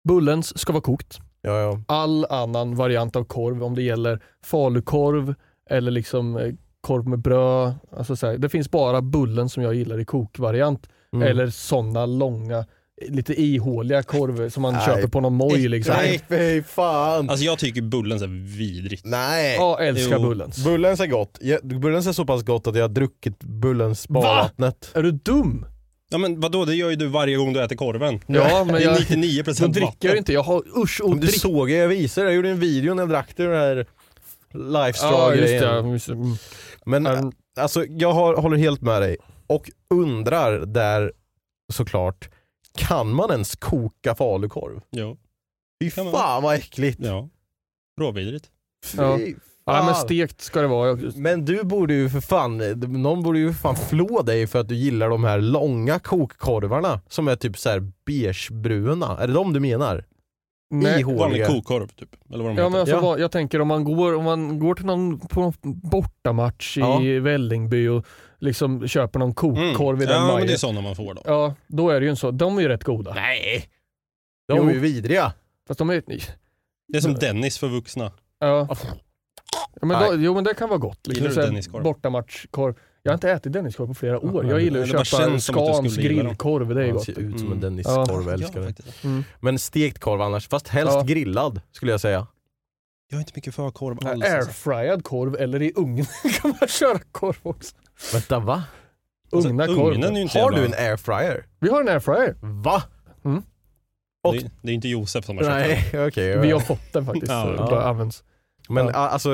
Bullens ska vara kokt. Ja, ja. All annan variant av korv, om det gäller falukorv eller liksom eh, korv med bröd. Alltså så här, det finns bara bullen som jag gillar i kokvariant. Mm. Eller sådana långa, lite ihåliga korv som man Nej. köper på någon moj liksom. Nej, fy fan! Alltså jag tycker bullens är vidrigt. Nej! Ja, älskar Jo. Bullens. Bullens är gott. Jag- Bullens är så pass gott att jag har druckit Bullens barvattnet. Är du dum? Ja men vadå, det gör ju du varje gång du äter korven. Ja, men det är jag, 99 jag procent dricker ju inte. Jag har usch och Men du drick. såg ju, jag visade det. Jag gjorde en video när jag drack det, den här Ja, just det. Lifestraw-grejen. Ja, just det. Mm. Men Mm. alltså, jag har, håller helt med dig. Och undrar där såklart, kan man ens koka falukorv? Jo, Fy Kan man. fan vad äckligt! ja. Råvidrigt. Fy Ja. Ja, men fan. stekt ska det vara. Jag- Men du borde ju för fan, någon borde ju för fan flå dig för att du gillar de här långa kokkorvarna som är typ så här beigebruna. Är det de du menar? Nej. Vanlig Ihåliga. kokkorv typ. Eller vad de Ja, heter. men alltså, Ja. vad- Jag tänker om man går, om man går till någon, på någon bortamatch i Ja. Mm. Vällingby och liksom köper någon kokkorv i den Mm. ja, men majen. det är sådana man får då. ja, då är det ju en så. De är ju rätt goda. Nej! De är ju vidriga. Fast de är... Det är som Dennis för vuxna. Ja. Ja, men då, Nej. jo men det kan vara gott. liksom. Gillar du så här Denniskorv? Bortamatchkorv. Jag har inte ätit Denniskorv på flera år. Nej, jag men- gillar det att bara köpa känns som att du Scans skulle gilla dem. grillkorv, det är Han gott. ser ut som en Mm. Ja. Dennis-korv, jag älskar ja, det. faktiskt. Mm. Men stekt korv annars, fast helst Ja. grillad skulle jag säga. Jag är inte mycket för korv Den här alls. alltså. Airfryad korv eller i ugn kan man köra korv också. Vänta va? Alltså, Ugna korv. Ugnen är ju inte Har jävla... du en airfryer? Vi har en airfryer. Va? Det är, det är inte Josef som har köpt den. Nej, okej. Vi har fått den faktiskt. Ja. så det bara används. Men Ja. a- alltså,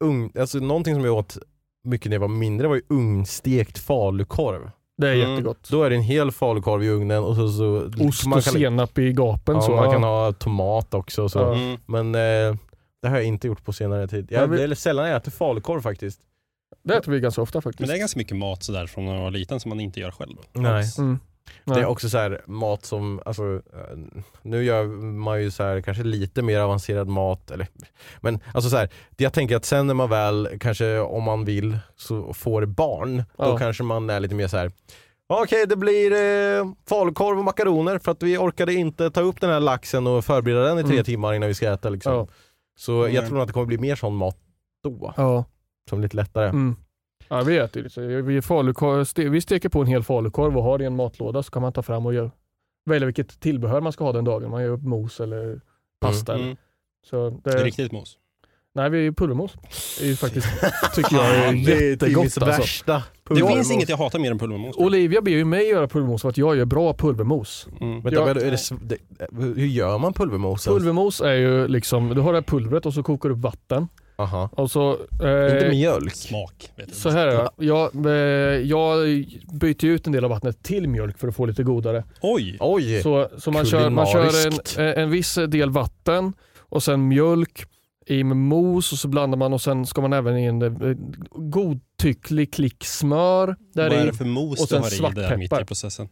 ung, alltså, någonting som jag åt mycket när jag var mindre var ju ugnstekt falukorv. Det är Mm. jättegott. Då är det en hel falukorv i ugnen och så... så Ost man och kan, senap i gapen. ja, så. Man ja. kan ha tomat också. och Så. Ja. Mm. Men eh, det har jag inte gjort på senare tid. Jag, Jag vill- Det är sällan jag äter falukorv faktiskt. Det äter vi ganska ofta faktiskt. Men det är ganska mycket mat sådär från när man var liten som man inte gör själv. Nej. Mm. Det är Ja. också så här mat som, alltså, eh, nu gör man ju så här kanske lite mer avancerad mat. Eller, men alltså så här, det jag tänker att sen när man väl, kanske om man vill, så får barn, Ja. då kanske man är lite mer så här. Okej, det blir eh, falukorv och makaroner för att vi orkade inte ta upp den här laxen och förbereda den i tre Mm. timmar innan vi ska äta. Liksom. Ja. Så jag Mm. tror nog att det kommer bli mer sån mat då, Ja. som är lite lättare. Mm. Ja, vi äter ju lite. Vi, är falukorv, ste- vi steker på en hel falukorv och har det i en matlåda så kan man ta fram och göra, välja vilket tillbehör man ska ha den dagen. Man gör upp mos eller pasta. eller- Mm. Så Det är det, riktigt mos. nej, vi är pulvermos. Det är ju faktiskt, tycker jag är jättegott Timmys alltså. värsta Det pulvermos. finns inget jag hatar mer än pulvermos. Olivia ber ju mig göra pulvermos för att jag gör bra pulvermos. Mm. Vänta, Ja. men är det, sv- det, hur gör man pulvermos? alltså? ens? Pulvermos är ju liksom, du har det här pulvret och så kokar du upp vatten. Aha. Och så, Inte eh, mjölk? Smak. Vet du. så här är det. Jag, eh, jag byter ju ut en del av vattnet till mjölk för att få lite godare. Oj! Oj! Så, så man kör, man kör Kulinariskt. en, eh, en viss del vatten och sen mjölk i med mos och så blandar man och sen ska man även in eh, godtycklig klick smör där Vad är i. det för mos och du sen har i där mitt i svartpeppar. processen?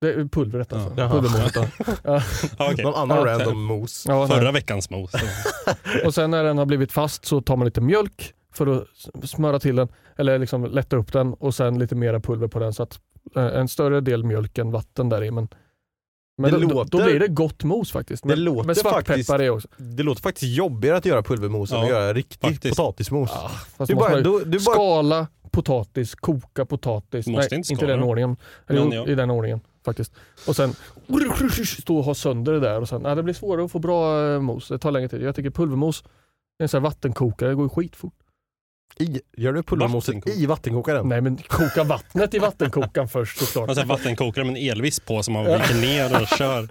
Det är pulvret alltså. Ja. Pulvermålet. då. Ja. Ja, okej. Någon annan Ja, random mos. Ja, nej. Förra veckans mos. Och sen när den har blivit fast så tar man lite mjölk för att s- smöra till den, eller liksom lätta upp den och sen lite mera pulver på den så att eh, en större del mjölk än vatten där i. Men, men Det då, då- då låter- blir det gott mos faktiskt. Det Men, låter men svartpeppar faktiskt- är också. Det låter faktiskt jobbigare att göra pulvermos än Ja, att göra riktig faktiskt. potatismos. Ja, Ah, fast Du måste bara, Alltså, man ju du, du bara skala potatis, koka potatis. Du måste Nej, inte i skala den dem. ordningen. Eller, Men jo, ja. I den ordningen faktiskt. Och sen stå och ha sönder det där och sen, nej, det blir svårare att få bra eh, mos. Det tar längre tid. Jag tycker pulvermos, en sån här vattenkokare, det går ju skitfort. i, gör du pulvermoset Vattenkok- i vattenkokaren? Nej men koka vattnet i vattenkokaren först såklart. Man har Alltså, vattenkokare med en elvisp på som man viker ner och kör.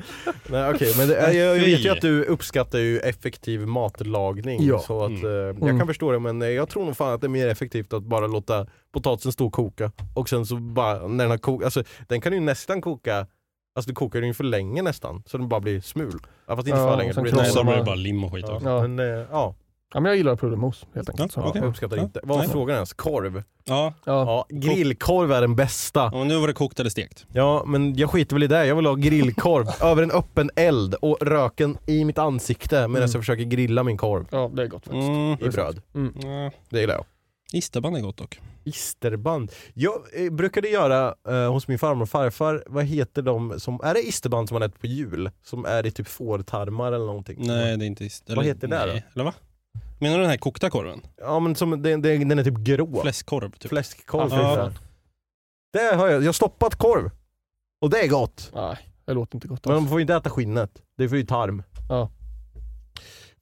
Nej okej, men det, jag, jag vet ju Fy. att du uppskattar ju effektiv matlagning. Ja. Så att, Mm. eh, jag Mm. kan förstå det men eh, jag tror nog fan att det är mer effektivt att bara låta potatisen stå och koka. Och sen så bara, när den har kokat, alltså den kan ju nästan koka, alltså du kokar den ju för länge nästan. Så den bara blir smul. Ja, fast inte Ja, för och länge. sen det blir Nej, krossar då nästan- blir det man- bara lim och skit. Ja, också. Ja. Men eh, ja, Ja, men jag gillar pulvermos helt enkelt. Ja, Så, okej. jag uppskattar Ja. inte. Vad var Nej. frågan ens? Korv? Ja. ja. Ja, grillkorv är den bästa. ja, men nu var det kokt eller stekt. Ja, men jag skiter väl i det. Jag vill ha grillkorv över en öppen eld och röken i mitt ansikte medan Mm. jag försöker grilla min korv ja, det är gott faktiskt. Mm. i bröd. Ja. Det gillar jag. Isterband är gott dock. Isterband. Jag eh, brukade göra eh, hos min farmor och farfar, vad heter de som, är det isterband som man äter på jul? Som är i typ fårtarmar eller någonting? Nej, det är inte ister. Liksom. Vad heter det nej. då? Eller va? Menar du den här kokta korven? Ja men som, den, den, den är typ grå. Fläskkorv typ. Fläskkorv. Ja. heter den. Det har jag, jag har stoppat korv. Och det är gott. Nej, det låter inte gott Men alls. man får ju inte äta skinnet, det får ju tarm. Ja.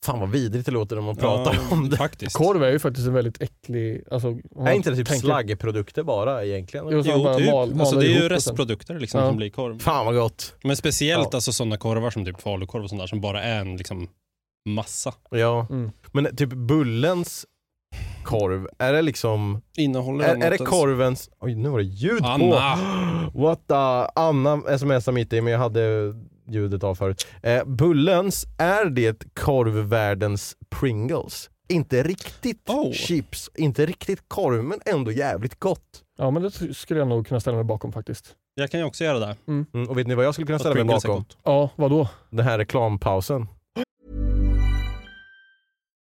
Fan vad vidrigt det låter när man pratar Ja, om det. Faktiskt. Korv är ju faktiskt en väldigt äcklig... Alltså, om man Är inte det typ tänker- slaggprodukter bara egentligen? Jo, så Jo, bara typ. mal, alltså, det är ju ihop och sen- restprodukter liksom, Ja. som blir korv. Fan vad gott! Men speciellt Ja. alltså, sådana korvar som typ falukorv och sånt där som bara är en liksom, massa. Ja. Mm. Men typ Bullens korv, är det liksom... Innehåller Är, den är det något ens? korvens... Oj nu var det ljud Anna! på! What the... Anna smsar mitt i men jag hade ljudet av förut. Eh, bullens, är det korvvärldens Pringles? Inte riktigt Oh. chips, inte riktigt korv men ändå jävligt gott. Ja, men det skulle jag nog kunna ställa mig bakom faktiskt. Jag kan ju också göra det. Mm, och vet ni vad jag skulle kunna Att ställa mig Pringles är bakom? gott. Ja, vadå? Den här reklampausen.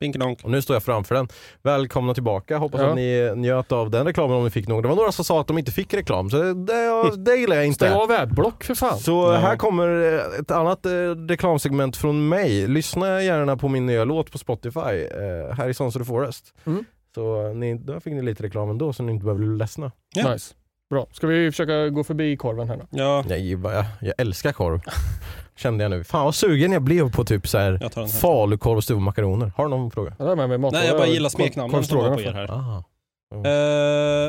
Binkelonk. Och nu står jag framför den. Välkomna tillbaka, hoppas Ja. att ni njöt av den reklamen om ni fick någon. Det var några som sa att de inte fick reklam, så det, det, det gillar jag Stäng inte. av adblock för fan. Så här kommer eh, ett annat eh, reklamsegment från mig. Lyssna gärna på min nya låt på Spotify, eh, här i Sons of the Forest. Mm. Så eh, ni, då fick ni lite reklam ändå så ni inte behöver bli ledsna. Ja. Nice. Bra. Ska vi försöka gå förbi korven här då? Ja, Jag, gillar- jag, jag älskar korv. Kände jag nu. Fan vad sugen jag blev på typ så här jag tar den här. falukorv och stuvade makaroner. Har du någon fråga? Ja, det är med mig mat- Nej, jag bara och- gillar korv- smeknamnen som var korvstroganoff. på er här.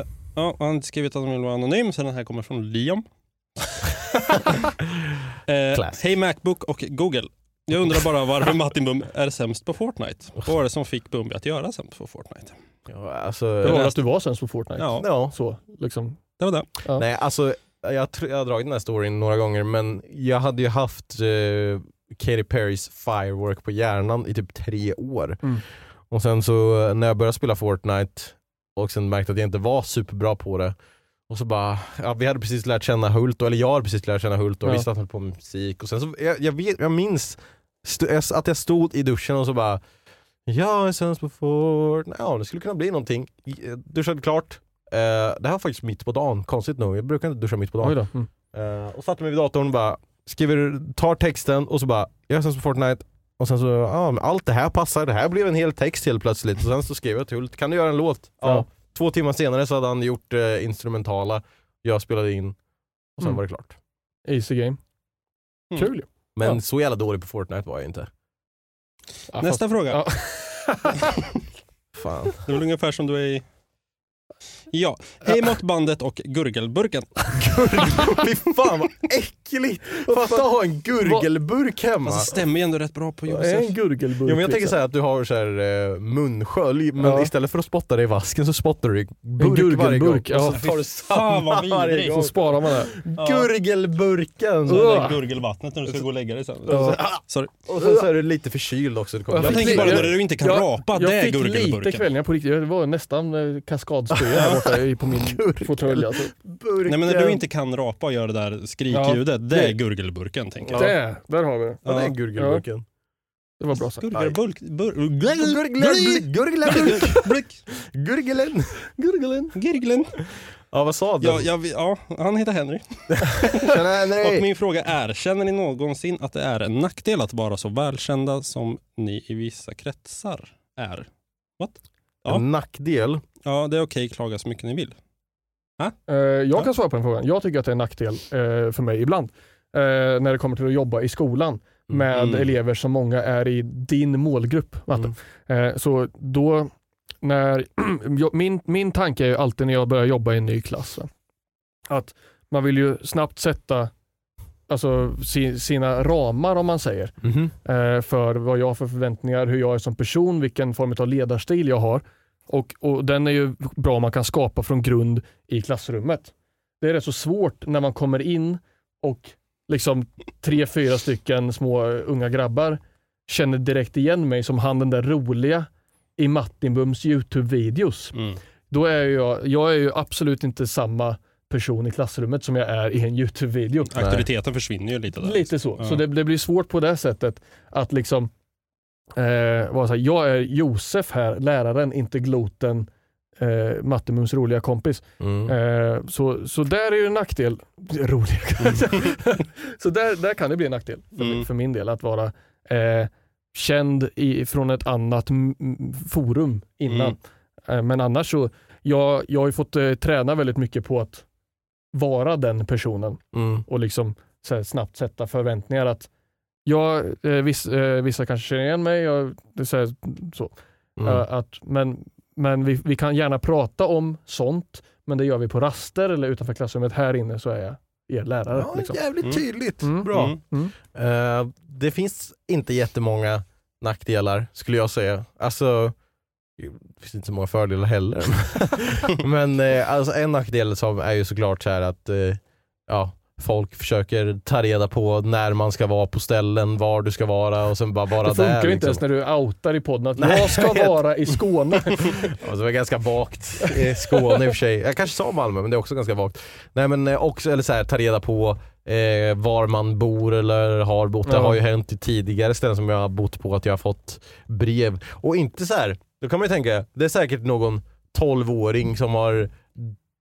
Ah. Eh, ja, han har inte skrivit att han vill vara anonym, så den här kommer från Liam. Eh, Classic. Hej Macbook och Google. Jag undrar bara varför Martin Bum är sämst på Fortnite. Vad var det som fick Bumbi att göra sämst på Fortnite? Ja, alltså, Det var att du var sen på Fortnite. Ja, ja. Så, liksom. det var det. Ja. Nej, alltså jag, tr- jag har dragit den här storyn några gånger, men jag hade ju haft eh, Katy Perrys Firework på hjärnan i typ tre år. Mm. Och sen så eh, när jag började spela Fortnite och sen märkte att jag inte var superbra på det, och så bara, ja, vi hade precis lärt känna Hult, då, eller jag hade precis lärt känna Hult och Ja. visste att han höll på med musik. Och sen så, jag, jag, vet, jag minns st- jag s- att jag stod i duschen och så bara, jag är sämst på Fortnite, ja det skulle kunna bli någonting. I- eh, Duschade klart, Eh, det här var faktiskt mitt på dagen, konstigt nog. Jag brukar inte duscha mitt på dagen. Oj då. Mm. Eh, och satte mig vid datorn och bara skriver, tar texten och så bara, jag sen på Fortnite. Och sen så, ja men allt det här passar, det här blev en hel text helt plötsligt. Och sen så skrev jag till Hult, kan du göra en låt? Ja. Ja. Två timmar senare så hade han gjort eh, instrumentala, jag spelade in och sen Mm. var det klart. Easy game. Mm. Kul ju. Men Ja. så jävla dålig på Fortnite var jag inte. Ja, Nästa fråga. Ja. Fan. Det är väl ungefär som du är i... Ja, hej måttbandet och gurgelburken. Fy fan vad äckligt! Fatta att ha en gurgelburk hemma. Alltså stämmer ju ändå rätt bra på Vad är en Josef. gurgelburk? Ja, men jag tänker liksom? så här att du har så här, eh, munskölj, men Ja. istället för att spotta det i vasken så spottar du i burk varje gång. gurgelburk, ja. Och så tar du Fan, vad samma varje vidrigt. gång. Så sparar man det. Gurgelburken! Det Så där gurgelvattnet när du ska gå och lägga dig sen. Sorry. och sen så är du lite förkyld också. Du kommer Jag fick tänker li- bara när jag- du inte kan jag- rapa, det Jag är fick lite gurgelburken. kvällningar på riktigt. Jag var nästan eh, kaskadspya här borta i- på min fåtölj. Alltså. burken. Nej men när du inte kan rapa och gör det där skrikljudet, det är gurgelburken tänker jag. Där, där har vi det. Ja, det är gurgelburken. Det var bra sagt. Gurgelburk... Bur, Gurgelburk. Gurgelburk. Burk. Gurgelen. Gurgelen. Gurgeln. Ja, vad sa du? Ja, jag, ja, han heter Henry. Tjena Henry! Och min fråga är, känner ni någonsin att det är en nackdel att vara så välkända som ni i vissa kretsar är? What? Ja. En nackdel. Ja, det är okej, klaga så mycket ni vill. Eh, jag kan svara på den frågan. Jag tycker att det är en nackdel eh, för mig ibland. Eh, när det kommer till att jobba i skolan med Mm. elever som många är i din målgrupp. Matte. Mm. Eh, så då, när, jag- min, min tanke är ju alltid när jag börjar jobba i en ny klass. Va? Att man vill ju snabbt sätta alltså, si, sina ramar om man säger. Mhm. eh, för vad jag har för förväntningar, hur jag är som person, vilken form av ledarstil jag har. Och, och Den är ju bra om man kan skapa från grund i klassrummet. Det är rätt så svårt när man kommer in och liksom tre, fyra stycken små eh, unga grabbar känner direkt igen mig som han den där roliga i Mattinbums YouTube-videos. Mm. Då är ju jag, jag är ju absolut inte samma person i klassrummet som jag är i en YouTube-video. Auktoriteten försvinner ju lite där. Lite så. Ja. Så det, det blir svårt på det sättet att liksom eh, vara så här, jag är Josef här, läraren, inte gloten, eh, Mattemums roliga kompis. Mm. Eh, så, så där är ju en nackdel. Roliga kanske. så där, där kan det bli en nackdel för, Mm. för min del att vara eh, känd i, från ett annat m- m- forum innan. Mm. Eh, men annars så, jag, jag har ju fått eh, träna väldigt mycket på att vara den personen Mm. och liksom så här, snabbt sätta förväntningar att jag, eh, viss, eh, vissa kanske känner igen mig, jag, det är så här, så. Mm. Eh, att, men men vi, vi kan gärna prata om sånt, men det gör vi på raster eller utanför klassrummet. Här inne så är jag er lärare. Ja, liksom. jävligt Mm. tydligt. Mm. Bra. Mm. Mm. Eh, det finns inte jättemånga nackdelar skulle jag säga. Alltså, det finns inte så många fördelar heller. Men eh, alltså, en nackdel som är ju såklart så här att eh, ja, folk försöker ta reda på när man ska vara på ställen, var du ska vara och sen bara vara Det funkar där. ju inte ens liksom. när du outar i podden att Nej, jag ska jag vet. vara i Skåne. Alltså, det var ganska vagt i Skåne i och för sig. Jag kanske sa Malmö men det är också ganska vagt. Nej men eh, också, eller så här, ta reda på eh, var man bor eller har bott. Det Ja. har ju hänt i tidigare ställen som jag har bott på att jag har fått brev. Och inte så här. då kan man ju tänka, det är säkert någon 12-åring som har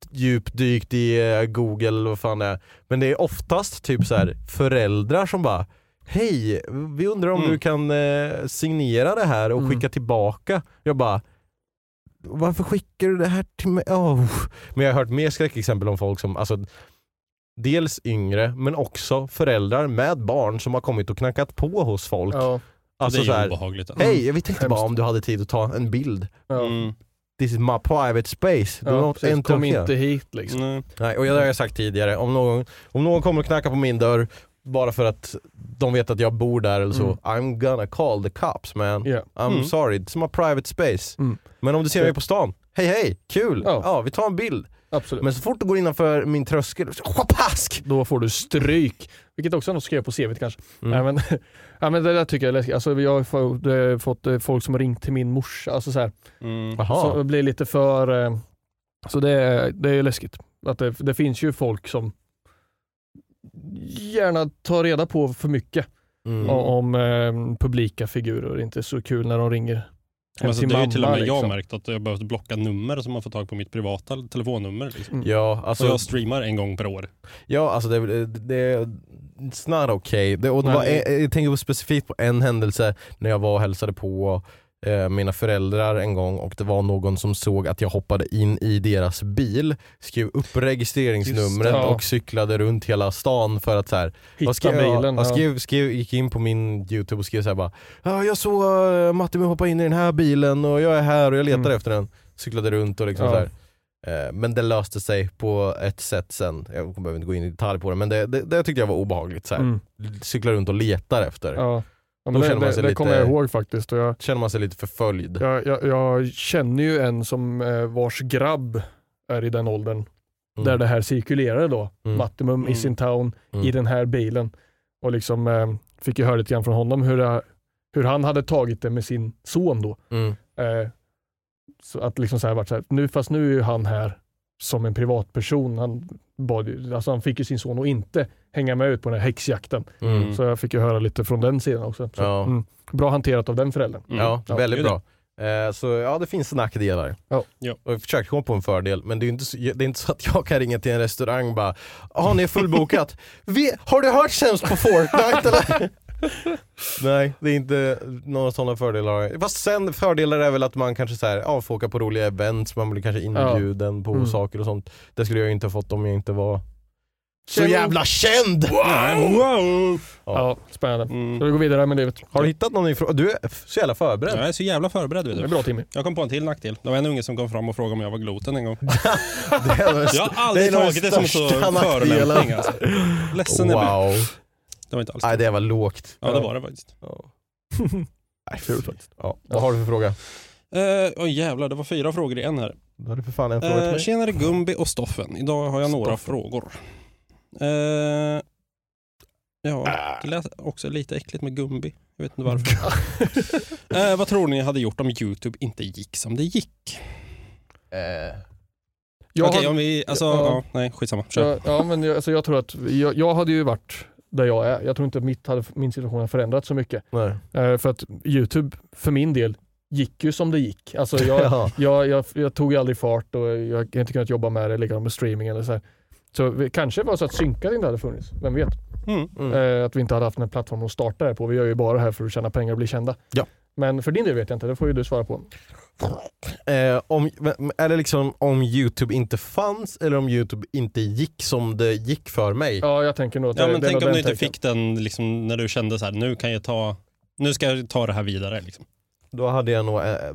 djupdykt i eh, Google eller vad fan det är. Men det är oftast typ så här föräldrar som bara Hej, vi undrar om Mm. du kan eh, signera det här och Mm. skicka tillbaka. Jag bara varför skickar du det här till mig? Oh. Men jag har hört mer skräckexempel om folk som, alltså, dels yngre, men också föräldrar med barn som har kommit och knackat på hos folk. ja, alltså det så är ju här, obehagligt. alltså. hej, vi tänkte bara Hemskt. om du hade tid att ta en bild. ja, Mm. This is my private space. Do ja, not precis. enter Kom here. inte hit liksom. Nej. Nej, och jag det har jag sagt tidigare, om någon, om någon kommer och knackar på min dörr bara för att de vet att jag bor där eller så, Mm. I'm gonna call the cops man. Ja. I'm Mm. sorry, it's my private space. Mm. Men om du ser mig på stan, hej hej, kul, Ja. ja. vi tar en bild. Absolut. Men så fort du går innanför min tröskel, så- schapask! då får du stryk. Vilket också är något att skriva på CVt kanske. Mm. Nej, men, ja, men det där tycker jag är läskigt. Alltså, jag har fått, eh, fått eh, folk som har ringt till min morsa. Alltså, så här, Mm. så det blir lite för... eh, Så det, är- det är läskigt. Att det, det finns ju folk som gärna tar reda på för mycket Mm. om, om eh, publika figurer. Det är inte så kul när de ringer Hem Alltså, till det är mamma ju till och med jag liksom. märkt att jag behövt blocka nummer som man får tag på mitt privata telefonnummer. Liksom. Mm. Ja, alltså, Så jag streamar en gång per år. ja, alltså det, det, det it's not okay. Det, och det var, eh, Nej. jag, jag tänker på specifikt på en händelse när jag var och hälsade på eh, mina föräldrar en gång och det var någon som såg att jag hoppade in i deras bil, skrev upp Just registreringsnumret det, ja. och cyklade runt hela stan för att så här, Hitta Vad skrev jag? bilen. Jag ja. skrev, skrev, gick in på min youtube och skrev såhär bara "Ja, Jag såg uh, Matti hoppa in i den här bilen och jag är här och jag letar Mm. efter den Cyklade runt och liksom Ja. så här. Eh, Men det löste sig på ett sätt sen, jag behöver inte gå in i detalj på det men det, det, det tyckte jag var obehagligt. Så här. Mm. Cykla runt och letar efter. Ja. Ja, Då men det känner man det, sig det lite- kommer jag ihåg faktiskt. Och jag, Känner man sig lite förföljd. jag, jag, jag känner ju en som eh, vars grabb är i den åldern, Mm. där det här cirkulerade då. Mm. Mattimum Mm. is in town Mm. i den här bilen. Och liksom eh, fick ju höra lite grann från honom hur, det, hur han hade tagit det med sin son då. Mm. Eh, så att liksom så här vart så här, nu, fast nu är ju han här som en privatperson. Han, bad, ju- alltså han fick ju sin son att inte hänga med ut på den här häxjakten. Mm. Mm. Så jag fick ju höra lite från den sidan också. Så, Ja. mm, bra hanterat av den föräldern. Mm. Ja, Ja, väldigt det är bra. Eh, Så ja, det finns nackdelar. Ja. Ja. Och jag försökte komma på en fördel, men det är ju inte så, det är inte så att jag kan ringa till en restaurang och bara Har ni är fullbokat? Vi, har du hört sämst på Fortnite eller? Nej, det är inte några sådana fördelar. Fast sen fördelar är väl att man kanske så här, ja, får åka på roliga events, man blir kanske inbjuden på Mm. saker och sånt. Det skulle jag ju inte ha fått om jag inte var så Känn- jävla känd! Wow! Ja. spännande. Mm. Så vi går vidare med livet. Har du hittat någon ifrån? Du är så jävla förberedd. Jag är så jävla förberedd. Vet det du. är bra Timmy. Jag kom på en till nackdel. Det var en unge som kom fram och frågade om jag var gluten en gång. Det är Jag har aldrig en av de tagit det som så största nackdelarna. förolämpning. Alltså. Ledsen jag blev. Wow. Det var inte alls Nej kul. det var lågt. Ja, det var det faktiskt. Nej, fult faktiskt. Ja. Vad har du för fråga? Eh, Åh jävlar, det var fyra frågor i en här. Då har du för fan en fråga till Uh, mig. tjenare Gumbi och Stoffen. Idag har jag några frågor. Eh, ja, det lät också lite äckligt med Gumbi. Jag vet inte varför. Eh, vad tror ni jag hade gjort om YouTube inte gick som det gick? Eh, Jag Okej, har- om vi... Alltså, Ja. ja. nej, skitsamma. Kör. Ja, ja, men jag, alltså jag tror att jag, jag hade ju varit där jag är. Jag tror inte att mitt hade, min situation har förändrats så mycket. nej. Eh, för att YouTube, för min del, gick ju som det gick. Alltså jag, Ja. jag, jag, jag tog ju aldrig fart och jag har inte kunnat jobba med det, likadant med streaming eller så här. Så vi, kanske var så att synkad inte hade funnits, vem vet? Mm. Eh, att vi inte hade haft en plattform att starta det här på. Vi gör ju bara det här för att tjäna pengar och bli kända. Ja. Men för din del vet jag inte, det får ju du svara på. Eh, om, men- är det liksom om YouTube inte fanns eller om YouTube inte gick som det gick för mig? Ja, jag tänker nog att Ja, det, men Eh, det är tänk nog om den du inte tanken. fick den liksom, när du kände så här, nu kan jag ta, nu ska jag ta det här vidare. Liksom. Då hade jag nog eh, eh,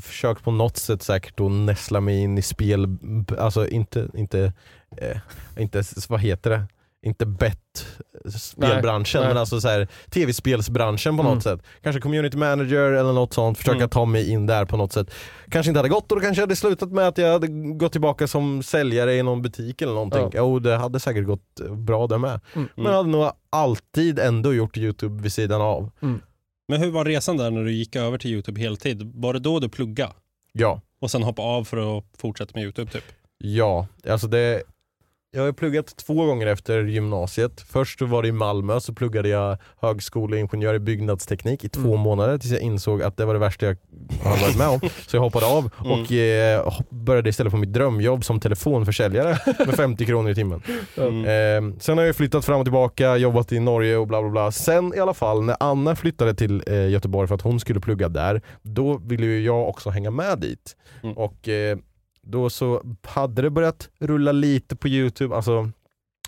försökt på något sätt säkert att näsla mig in i spel, b- alltså inte, inte, eh, inte s- vad heter det? Inte bett eh, spelbranschen Nej, Mm. nej. men alltså så här, tv-spelsbranschen på något sätt. Kanske community manager eller något sånt, försöka Mm. ta mig in där på något sätt. Kanske inte hade gått och då kanske jag hade slutat med att jag hade gått tillbaka som säljare i någon butik eller någonting. Ja. Jo det hade säkert gått eh, bra det med. Mm. Men jag hade nog alltid ändå gjort youtube vid sidan av. Men hur var resan där när du gick över till YouTube heltid? Var det då du plugga Ja. och sen hoppa av för att fortsätta med YouTube? Typ? Ja, alltså det... Jag har ju pluggat två gånger efter gymnasiet. Först så var det i Malmö, så pluggade jag högskoleingenjör i byggnadsteknik i två Mm. månader tills jag insåg att det var det värsta jag hade varit med om. Så jag hoppade av och eh, hopp- började istället på mitt drömjobb som telefonförsäljare med 50 kronor i timmen. Mm. Eh, sen har jag flyttat fram och tillbaka, jobbat i Norge och bla bla bla. Sen i alla fall när Anna flyttade till eh, Göteborg för att hon skulle plugga där, då ville ju jag också hänga med dit. Mm. Och eh, då så hade det börjat rulla lite på YouTube, alltså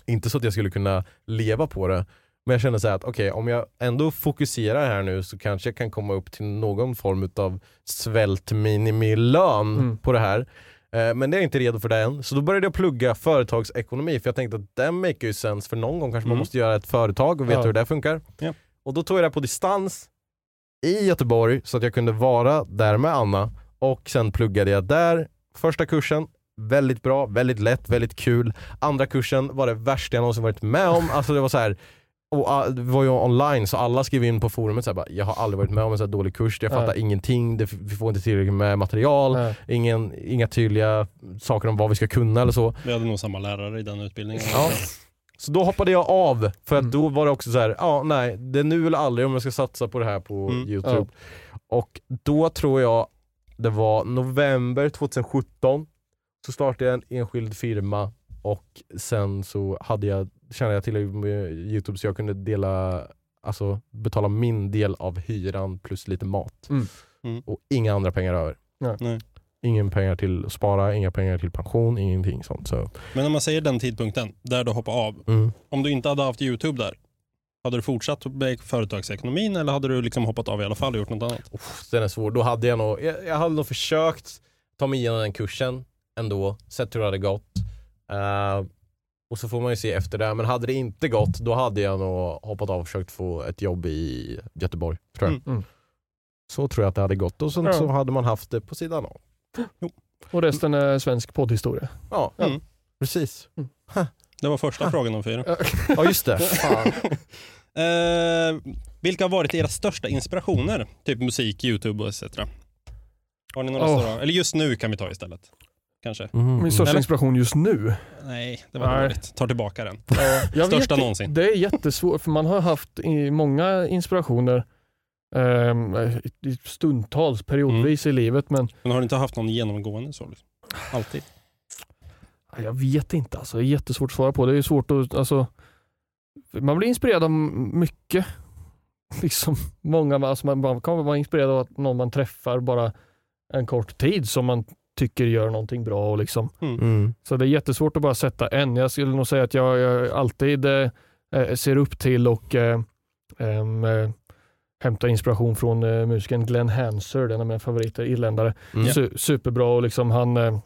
inte så att jag skulle kunna leva på det. Men jag kände så här att okej, om jag ändå fokuserar här nu så kanske jag kan komma upp till någon form av svältminimilön Mm. på det här. Eh, Men det är jag inte redo för det än. Så då började jag plugga företagsekonomi för jag tänkte att den make ju sense för någon gång kanske man Mm. måste göra ett företag och veta Ja. hur det funkar. Ja. Och då tog jag det här på distans i Göteborg så att jag kunde vara där med Anna och sen pluggade jag där första kursen. Väldigt bra, väldigt lätt, väldigt kul. Andra kursen var det värsta jag någonsin varit med om. Alltså det var så här, och ah, det var ju online så alla skrev in på forumet så här, bara, jag har aldrig varit med om en så här dålig kurs, jag Ja. fattar ingenting, det, vi får inte tillräckligt med material. Nej. Ingen, inga tydliga saker om vad vi ska kunna eller så. Vi hade nog samma lärare i den utbildningen. Ja. Så då hoppade jag av, för att då var det också så här, ja nej, det är nu eller aldrig om jag ska satsa på det här på Mm. YouTube. Och då tror jag det var november 2017, så startade jag en enskild firma och sen så hade jag, kände jag till med YouTube så jag kunde dela, alltså betala min del av hyran plus lite mat. Mm. Mm. Och inga andra pengar över. Nej. Nej. Ingen pengar till att spara, inga pengar till pension, ingenting sånt. Så. Men om man säger den tidpunkten, där du hoppade av. Mm. Om du inte hade haft YouTube där, hade du fortsatt med företagsekonomin eller hade du liksom hoppat av i alla fall och gjort något annat? Uff, den är svår. Då hade jag nog, jag, jag hade nog försökt ta mig igenom den kursen ändå, sett hur det hade gått. Eh, och så får man ju se efter det. Men hade det inte gått, då hade jag nog hoppat av och försökt få ett jobb i Göteborg. Tror jag. Mm. Mm. Så tror jag att det hade gått. Och sen Ja. så hade man haft det på sidan av. Och resten är svensk poddhistoria. Ja, Mm. precis. Det var första frågan om fyra. Ja, just det. Fan. Eh, vilka har varit era största inspirationer? Typ musik, YouTube och etc. Har ni några Oh. stora? Eller just nu kan vi ta istället. Kanske? Mm. Min största Eller? inspiration just nu. Nej, det var Nej. dåligt. Tar tillbaka den. Jag Största vet, någonsin. Det är jättesvårt, för man har haft i många inspirationer ehm, i stundtals, periodvis Mm. i livet, men Men har du inte haft någon genomgående så? Liksom? Alltid. Ja, Jag vet inte alltså. Det är jättesvårt att svara på. Det är ju svårt att, alltså, man blir inspirerad av mycket. Liksom, många, alltså man, man kan vara inspirerad av att någon man träffar bara en kort tid som man tycker gör någonting bra. Och liksom. Mm. Så det är jättesvårt att bara sätta en. Jag skulle nog säga att jag, jag alltid eh, eh, ser upp till och eh, em, eh, hämtar inspiration från eh, musikern Glenn Hanser, den av mina favoriter, irländare. Mm. Su- superbra och liksom han eh,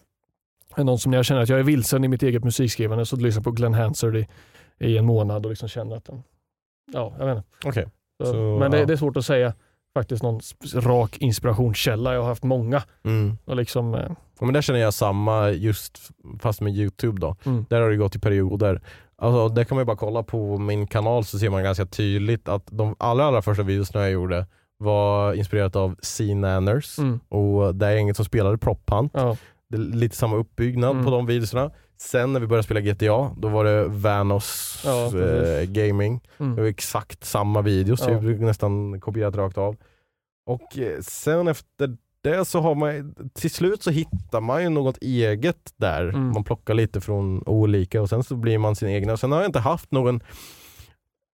är någon som när jag känner att jag är vilsen i mitt eget musikskrivande så lyssnar jag på Glenn Hansard i, i en månad och liksom känner att den, ja, jag vet inte. Okej. Så, Så, men det, ja. det är svårt att säga faktiskt någon sp- rak inspirationskälla. Jag har haft många Mm. och liksom, eh, Ja, men där känner jag samma, just fast med YouTube då. Mm. Där har det gått i perioder. Alltså, där kan man ju bara kolla på min kanal så ser man ganska tydligt att de allra, allra första videorna jag gjorde var inspirerat av C-Nanners mm, och det är inget som spelade Proppan. ja, Det är lite samma uppbyggnad Mm. på de videorna. Sen när vi började spela GTA, då var det Vanos Ja, eh, precis. Gaming. Det mm, var exakt samma video, så Ja. jag brukar nästan kopierat rakt av. Och eh, sen efter det så har man, till slut så hittar man ju något eget där. Mm. Man plockar lite från olika och sen så blir man sin egna. Sen har jag inte haft någon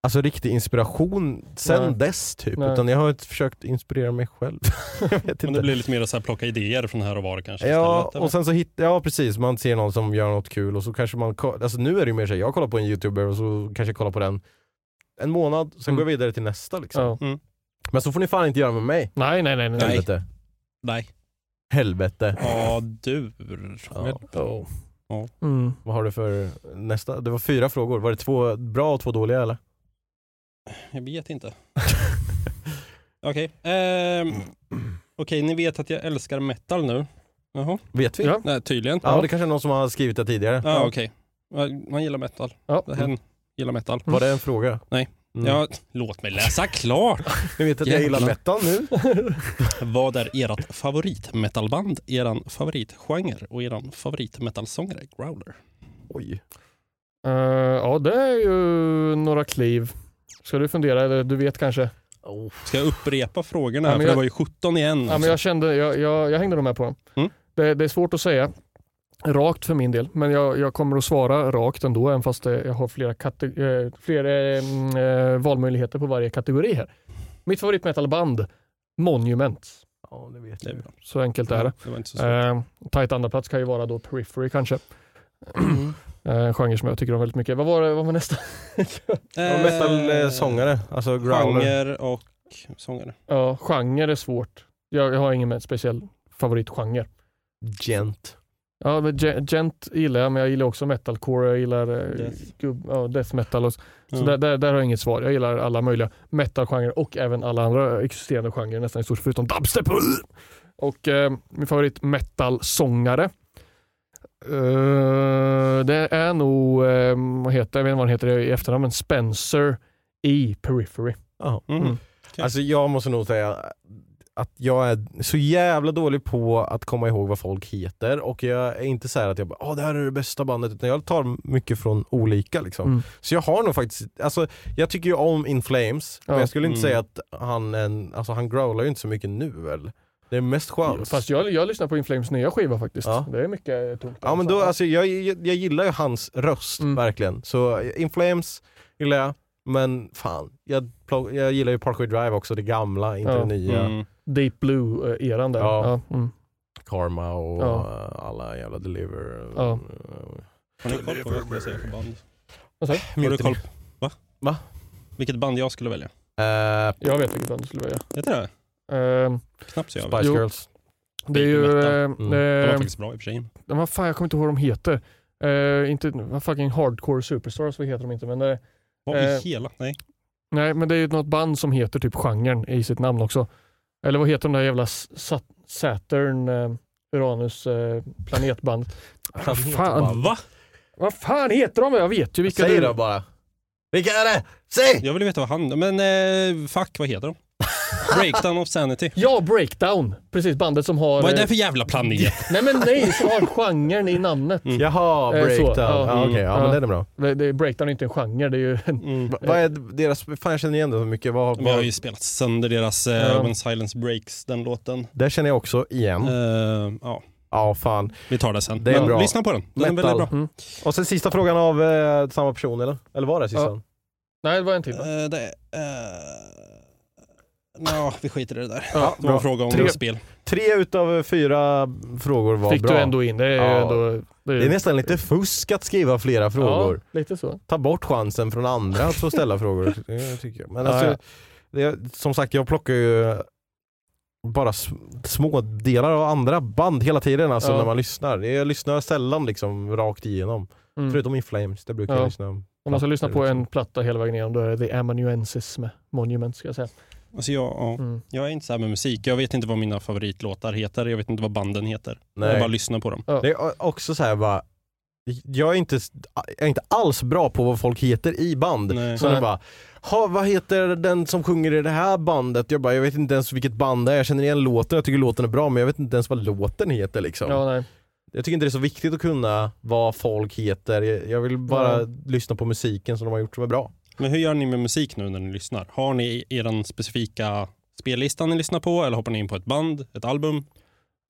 Alltså riktig inspiration sen Nej. dess typ. Nej. Utan jag har inte försökt inspirera mig själv. jag vet Men inte. det blir lite mer så här plocka idéer från här och var kanske Ja, istället. eller? och sen så hittar, ja precis, man ser någon som gör något kul och så kanske man, ko- alltså nu är det ju mer så här, jag kollar på en youtuber och så kanske jag kollar på den en månad, sen Mm. går jag vidare till nästa liksom. ja. Mm. Men så får ni fan inte göra med mig. Nej, nej, nej. nej. Nej. Helvete. Nej. Helvete. Ja, du. Roger. Ja. Mm. Vad har du för nästa? Det var fyra frågor. Var det två bra och två dåliga eller? Jag vet inte. Okej. ehm, Okej, ni vet att jag älskar metal nu. Jaha. Vet vi? Ja. Nej, tydligen. Ja, det kanske är någon som har skrivit det tidigare. Ja, ah, okej. Ja, Man gillar metal. Ja. Mm. Hen gillar metal. Mm. Var det en fråga? Nej. Mm. Ja, låt mig läsa klart. Ni vet att jag Jävlar. gillar metal nu? Vad är ert favoritmetalband, eran favoritgenre och eran favoritmetalsångare, Growler? Oj. Eh, ja, det är ju några kliv. Ska du fundera? Eller du vet kanske? Mm. Ska jag upprepa frågorna? Ja, här? men för det jag- var ju 17 igen. Ja, men jag, kände, jag, jag, jag hängde nog med på dem. Mm. Det, det är svårt att säga rakt för min del, men jag, jag kommer att svara rakt ändå, även fast det, jag har flera, kate- eh, flera eh, mm, eh, valmöjligheter på varje kategori här. Mitt favoritmetalband, Monuments. Ja, det vet Det är jag. bra. Så enkelt är det. Det var inte Mm. så svårt. Eh, tajt andra plats kan ju vara då Periphery kanske. Eh, en genre som jag tycker om väldigt mycket. Vad var, det, vad var nästa? Eh, Ja, Metal-sångare, alltså growler. Eh, Genre och sångare. Ja, genre är svårt. Jag, jag har ingen speciell favoritgenre. Gent. Ja, men Gen- gent gillar jag, men jag gillar också metalcore. Jag gillar death, Death. gubb, ja, death metal. Och så så Mm. där, där, där har jag inget svar. Jag gillar alla möjliga metalgenrer och även alla andra existerande genrer nästan i stort, förutom dubstep. Och eh, min favorit metal-sångare. Eh, det är nog, eh, vad heter, jag vet inte vad han heter i efternamn, men Spencer i Periphery. Jaha. Mm. Mm. Alltså jag måste nog säga, att jag är så jävla dålig på att komma ihåg vad folk heter och jag är inte så här att jag bara Åh, det här är det bästa bandet utan jag tar mycket från olika liksom. Mm. Så jag har nog faktiskt, alltså jag tycker ju om In Flames men Ja. jag skulle inte Mm. säga att han, är en, alltså, han growlar ju inte så mycket nu väl? Det är mest chans. Fast jag, jag lyssnar på Inflames nya skiva faktiskt. Ja. Det är mycket tungt. Ja men då, alltså, jag, jag, jag gillar ju hans röst Mm. verkligen. Så In Flames gillar jag, men fan. Jag, plock- jag gillar ju Parkway Drive också, det gamla, inte Ja. det nya. Mm. Deep Blue-eran där. Ja. Ja, mm. Karma och Ja. eh, alla jävla Deliver. Ja. Eh, Har ni koll på vad jag skulle säga för band? Vad sa du? Har du Mutiny. koll? Va? Va? Vilket band jag skulle välja? Eh, Jag vet vilket band du skulle välja. Vet du det? Ehm, Knappt så jag vet. Spice Jo. Girls. det är ju... Metal. ehm, Mm. De var ehm, faktiskt bra i och för sig. Men vad fan, jag kommer inte ihåg vad de heter. Eh, inte, vad fucking hardcore superstars, vad heter de inte? Men, eh, Vad i eh, hela? Nej. nej, men det är ju något band som heter typ genren i sitt namn också. Eller vad heter de där jävla S- Sat- Saturn, eh, Uranus, eh, planetband? Vad fan, Va? vad fan heter de? Jag vet ju vilka Säg du... då bara. Vilka är det? Säg! Jag vill veta vad han... Men eh, fuck, vad heter de? Breakdown of Sanity. Ja, Breakdown! Precis, bandet som har... Vad är eh, det för jävla planet? Nej men nej, som har genren i namnet. Jaha, Eh, så, Breakdown. ja. ja, okej, ja, Ja. Eh. men den är bra. Det, det, breakdown är inte en genre, det är ju en... Va- Vad är deras, fan jag känner igen det så mycket. Vad, Vi Mm. har vad, ju spelat sönder deras eh, Ja. When Silence Breaks, den låten. där känner jag också igen. Eh, ja, Ja, fan. vi tar det sen. Mm. Det är Men bra. lyssna på den. Den är Metal. väldigt bra. Och sen sista frågan av eh, samma person eller? Eller var det sista? Nej, det var en Typ. till va? Eh, det är... Nå, vi skiter i det där. Ja, Det var bra. en fråga om Tre- spel. Tre utav fyra frågor var Fick bra. du ändå in, det är ju Ja. ändå... Det är nästan lite fusk att skriva flera frågor. Ja, lite så. Ta bort chansen från andra att få ställa frågor. Det tycker jag. Men Ja, alltså, ja. Det, som sagt, jag plockar ju bara s- små delar av andra band hela tiden alltså, Ja. när man lyssnar. Jag lyssnar sällan liksom rakt igenom. Mm. Förutom In Flames, det brukar jag Ja. lyssna om. Om man ska lyssna på plattor, en platta hela vägen igenom då är det The Amanuensis med Monument ska jag säga. Alltså jag, ja, Mm. jag är inte så här med musik. Jag vet inte vad mina favoritlåtar heter. Jag vet inte vad banden heter. Jag Nej. bara lyssnar på dem. Det är också så här bara, jag är inte, jag är inte alls bra på vad folk heter i band. Nej. Så jag Nej. bara, ha, vad heter den som sjunger i det här bandet? Jag bara, jag vet inte ens vilket band det är, jag känner igen låten, jag tycker låten är bra men jag vet inte ens vad låten heter liksom. Ja, nej. Jag tycker inte det är så viktigt att kunna vad folk heter, jag jag vill bara lyssna på musiken som de har gjort som är bra. Men hur gör ni med musik nu när ni lyssnar? Har ni er specifika spellista ni lyssnar på eller hoppar ni in på ett band, ett album?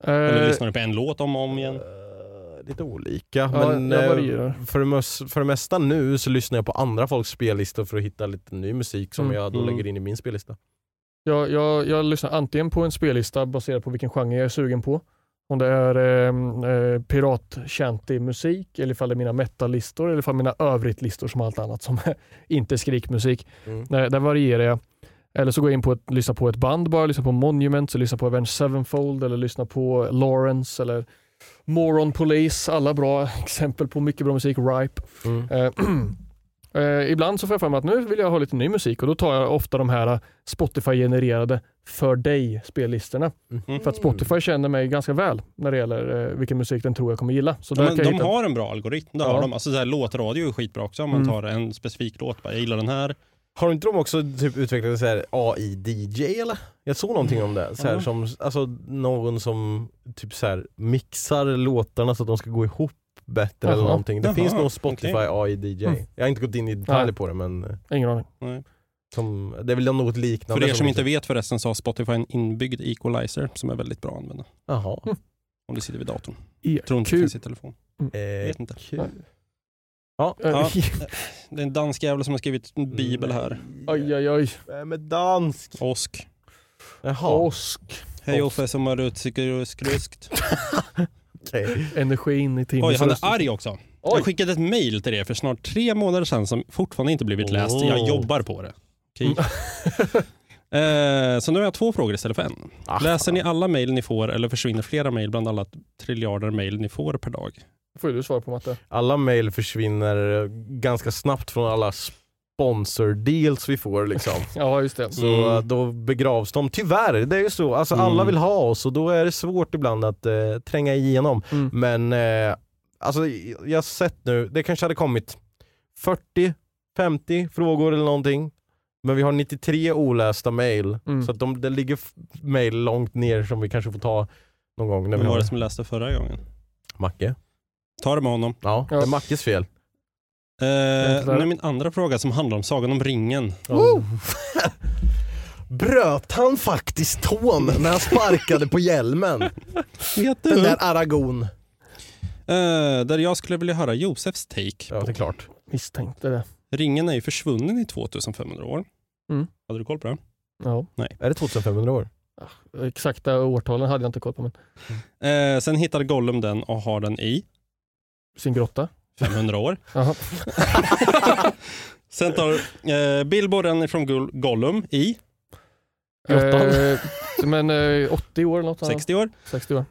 Eller Eh, lyssnar ni på en låt om och om igen? Eh, Lite olika, ja, men jag eh, varierar. för det, mest- för det mesta nu så lyssnar jag på andra folks spellistor för att hitta lite ny musik som Mm. jag då Mm. lägger in i min spellista. Jag, jag, jag lyssnar antingen på en spellista baserad på vilken genre jag är sugen på. Om det är eh, eh, pirat musik eller ifall det är mina metallistor eller ifall mina övrigt listor som allt annat som inte är skrikmusik. Mm. Där, där varierar jag. Eller så går jag in på att lyssna på ett band bara, lyssna på Monument, så lyssna på Avenged Sevenfold eller lyssna på Lawrence eller Moron Police. Alla bra exempel på mycket bra musik. Ripe. Eh, eh, ibland så får jag för mig att nu vill jag ha lite ny musik och då tar jag ofta de här eh, Spotify-genererade för dig-spellistorna. Mm. För att Spotify känner mig ganska väl när det gäller eh, vilken musik den tror jag kommer gilla. Så Ja, där men kan jag de hitta... har en bra algoritm. Där Ja. har de, alltså så här, låtradio är skitbra också. Om man Mm. tar en specifik låt, bara, jag gillar den här. Har inte de också typ utvecklat så här AI-DJ eller? Jag såg någonting om det. Så här, Ja. som, alltså, någon som typ så här, mixar låtarna så att de ska gå ihop bättre eller Jaha. någonting. Det Jaha, finns nog Spotify okej. AI-DJ. Mm. Jag har inte gått in i detalj Nej. på det men eh, Ingen aning. som, det är väl något liknande. För er som inte vet förresten så har Spotify en inbyggd equalizer som är väldigt bra att använda. Jaha. Mm. Om du sitter vid datorn. EQ. Tror inte det finns i telefon. Eh, Vet inte. kul. Ja. Ja. Det är en dansk jävel som har skrivit en bibel här. Oj, oj, oj. Vem är dansk? Osk. Jaha. Åsk. Hej Osk. Offe som har utskruskt. Okej. Energin i timmen. Oj, han är arg också. Oj. Jag skickade ett mail till er för snart tre månader sedan som fortfarande inte blivit läst. Jag Oh. jobbar på det. Okej. Eh, så nu har jag två frågor istället för en. Mm. Ah, Läser ni alla mejl ni får eller försvinner flera mejl bland alla triljarder mejl ni får per dag? får ju du svar på Matte. Alla mail försvinner eh, ganska snabbt från alla sponsor deals vi får liksom. Ja, just det. Så Mm. eh, då begravs de. Tyvärr, det är ju så. Alltså, Alla Mm. vill ha oss och då är det svårt ibland att eh, tränga igenom. Mm. Men eh, alltså, jag har sett nu, det kanske hade kommit 40, 50 frågor eller någonting. Men vi har 93 olästa mail, Mm. så att de, det ligger f- mail långt ner som vi kanske får ta någon gång. När vi Vem var har det som läste förra gången? Macke. Ta det med honom. Ja, Ja. det är Mackes fel. Eh, där. nu min andra fråga som handlar om Sagan om ringen. Oh. Bröt han faktiskt tån när han sparkade på hjälmen? Vet Den där Aragon. Eh, där jag skulle vilja höra Josefs take. Ja, det är klart. Misstänkte det. Ringen är ju försvunnen i 2500 år. Mm. Hade du koll på det? Ja. Är det 2500 år? Exakta årtalen hade jag inte koll på, men Eh, sen hittar Gollum den och har den i sin grotta. 500 år. Jaha. Sen tar eh, Bilbo den ifrån Gol- Gollum i Grottan. Eh, men eh, 80 år eller något annat. 60 år. 60 år.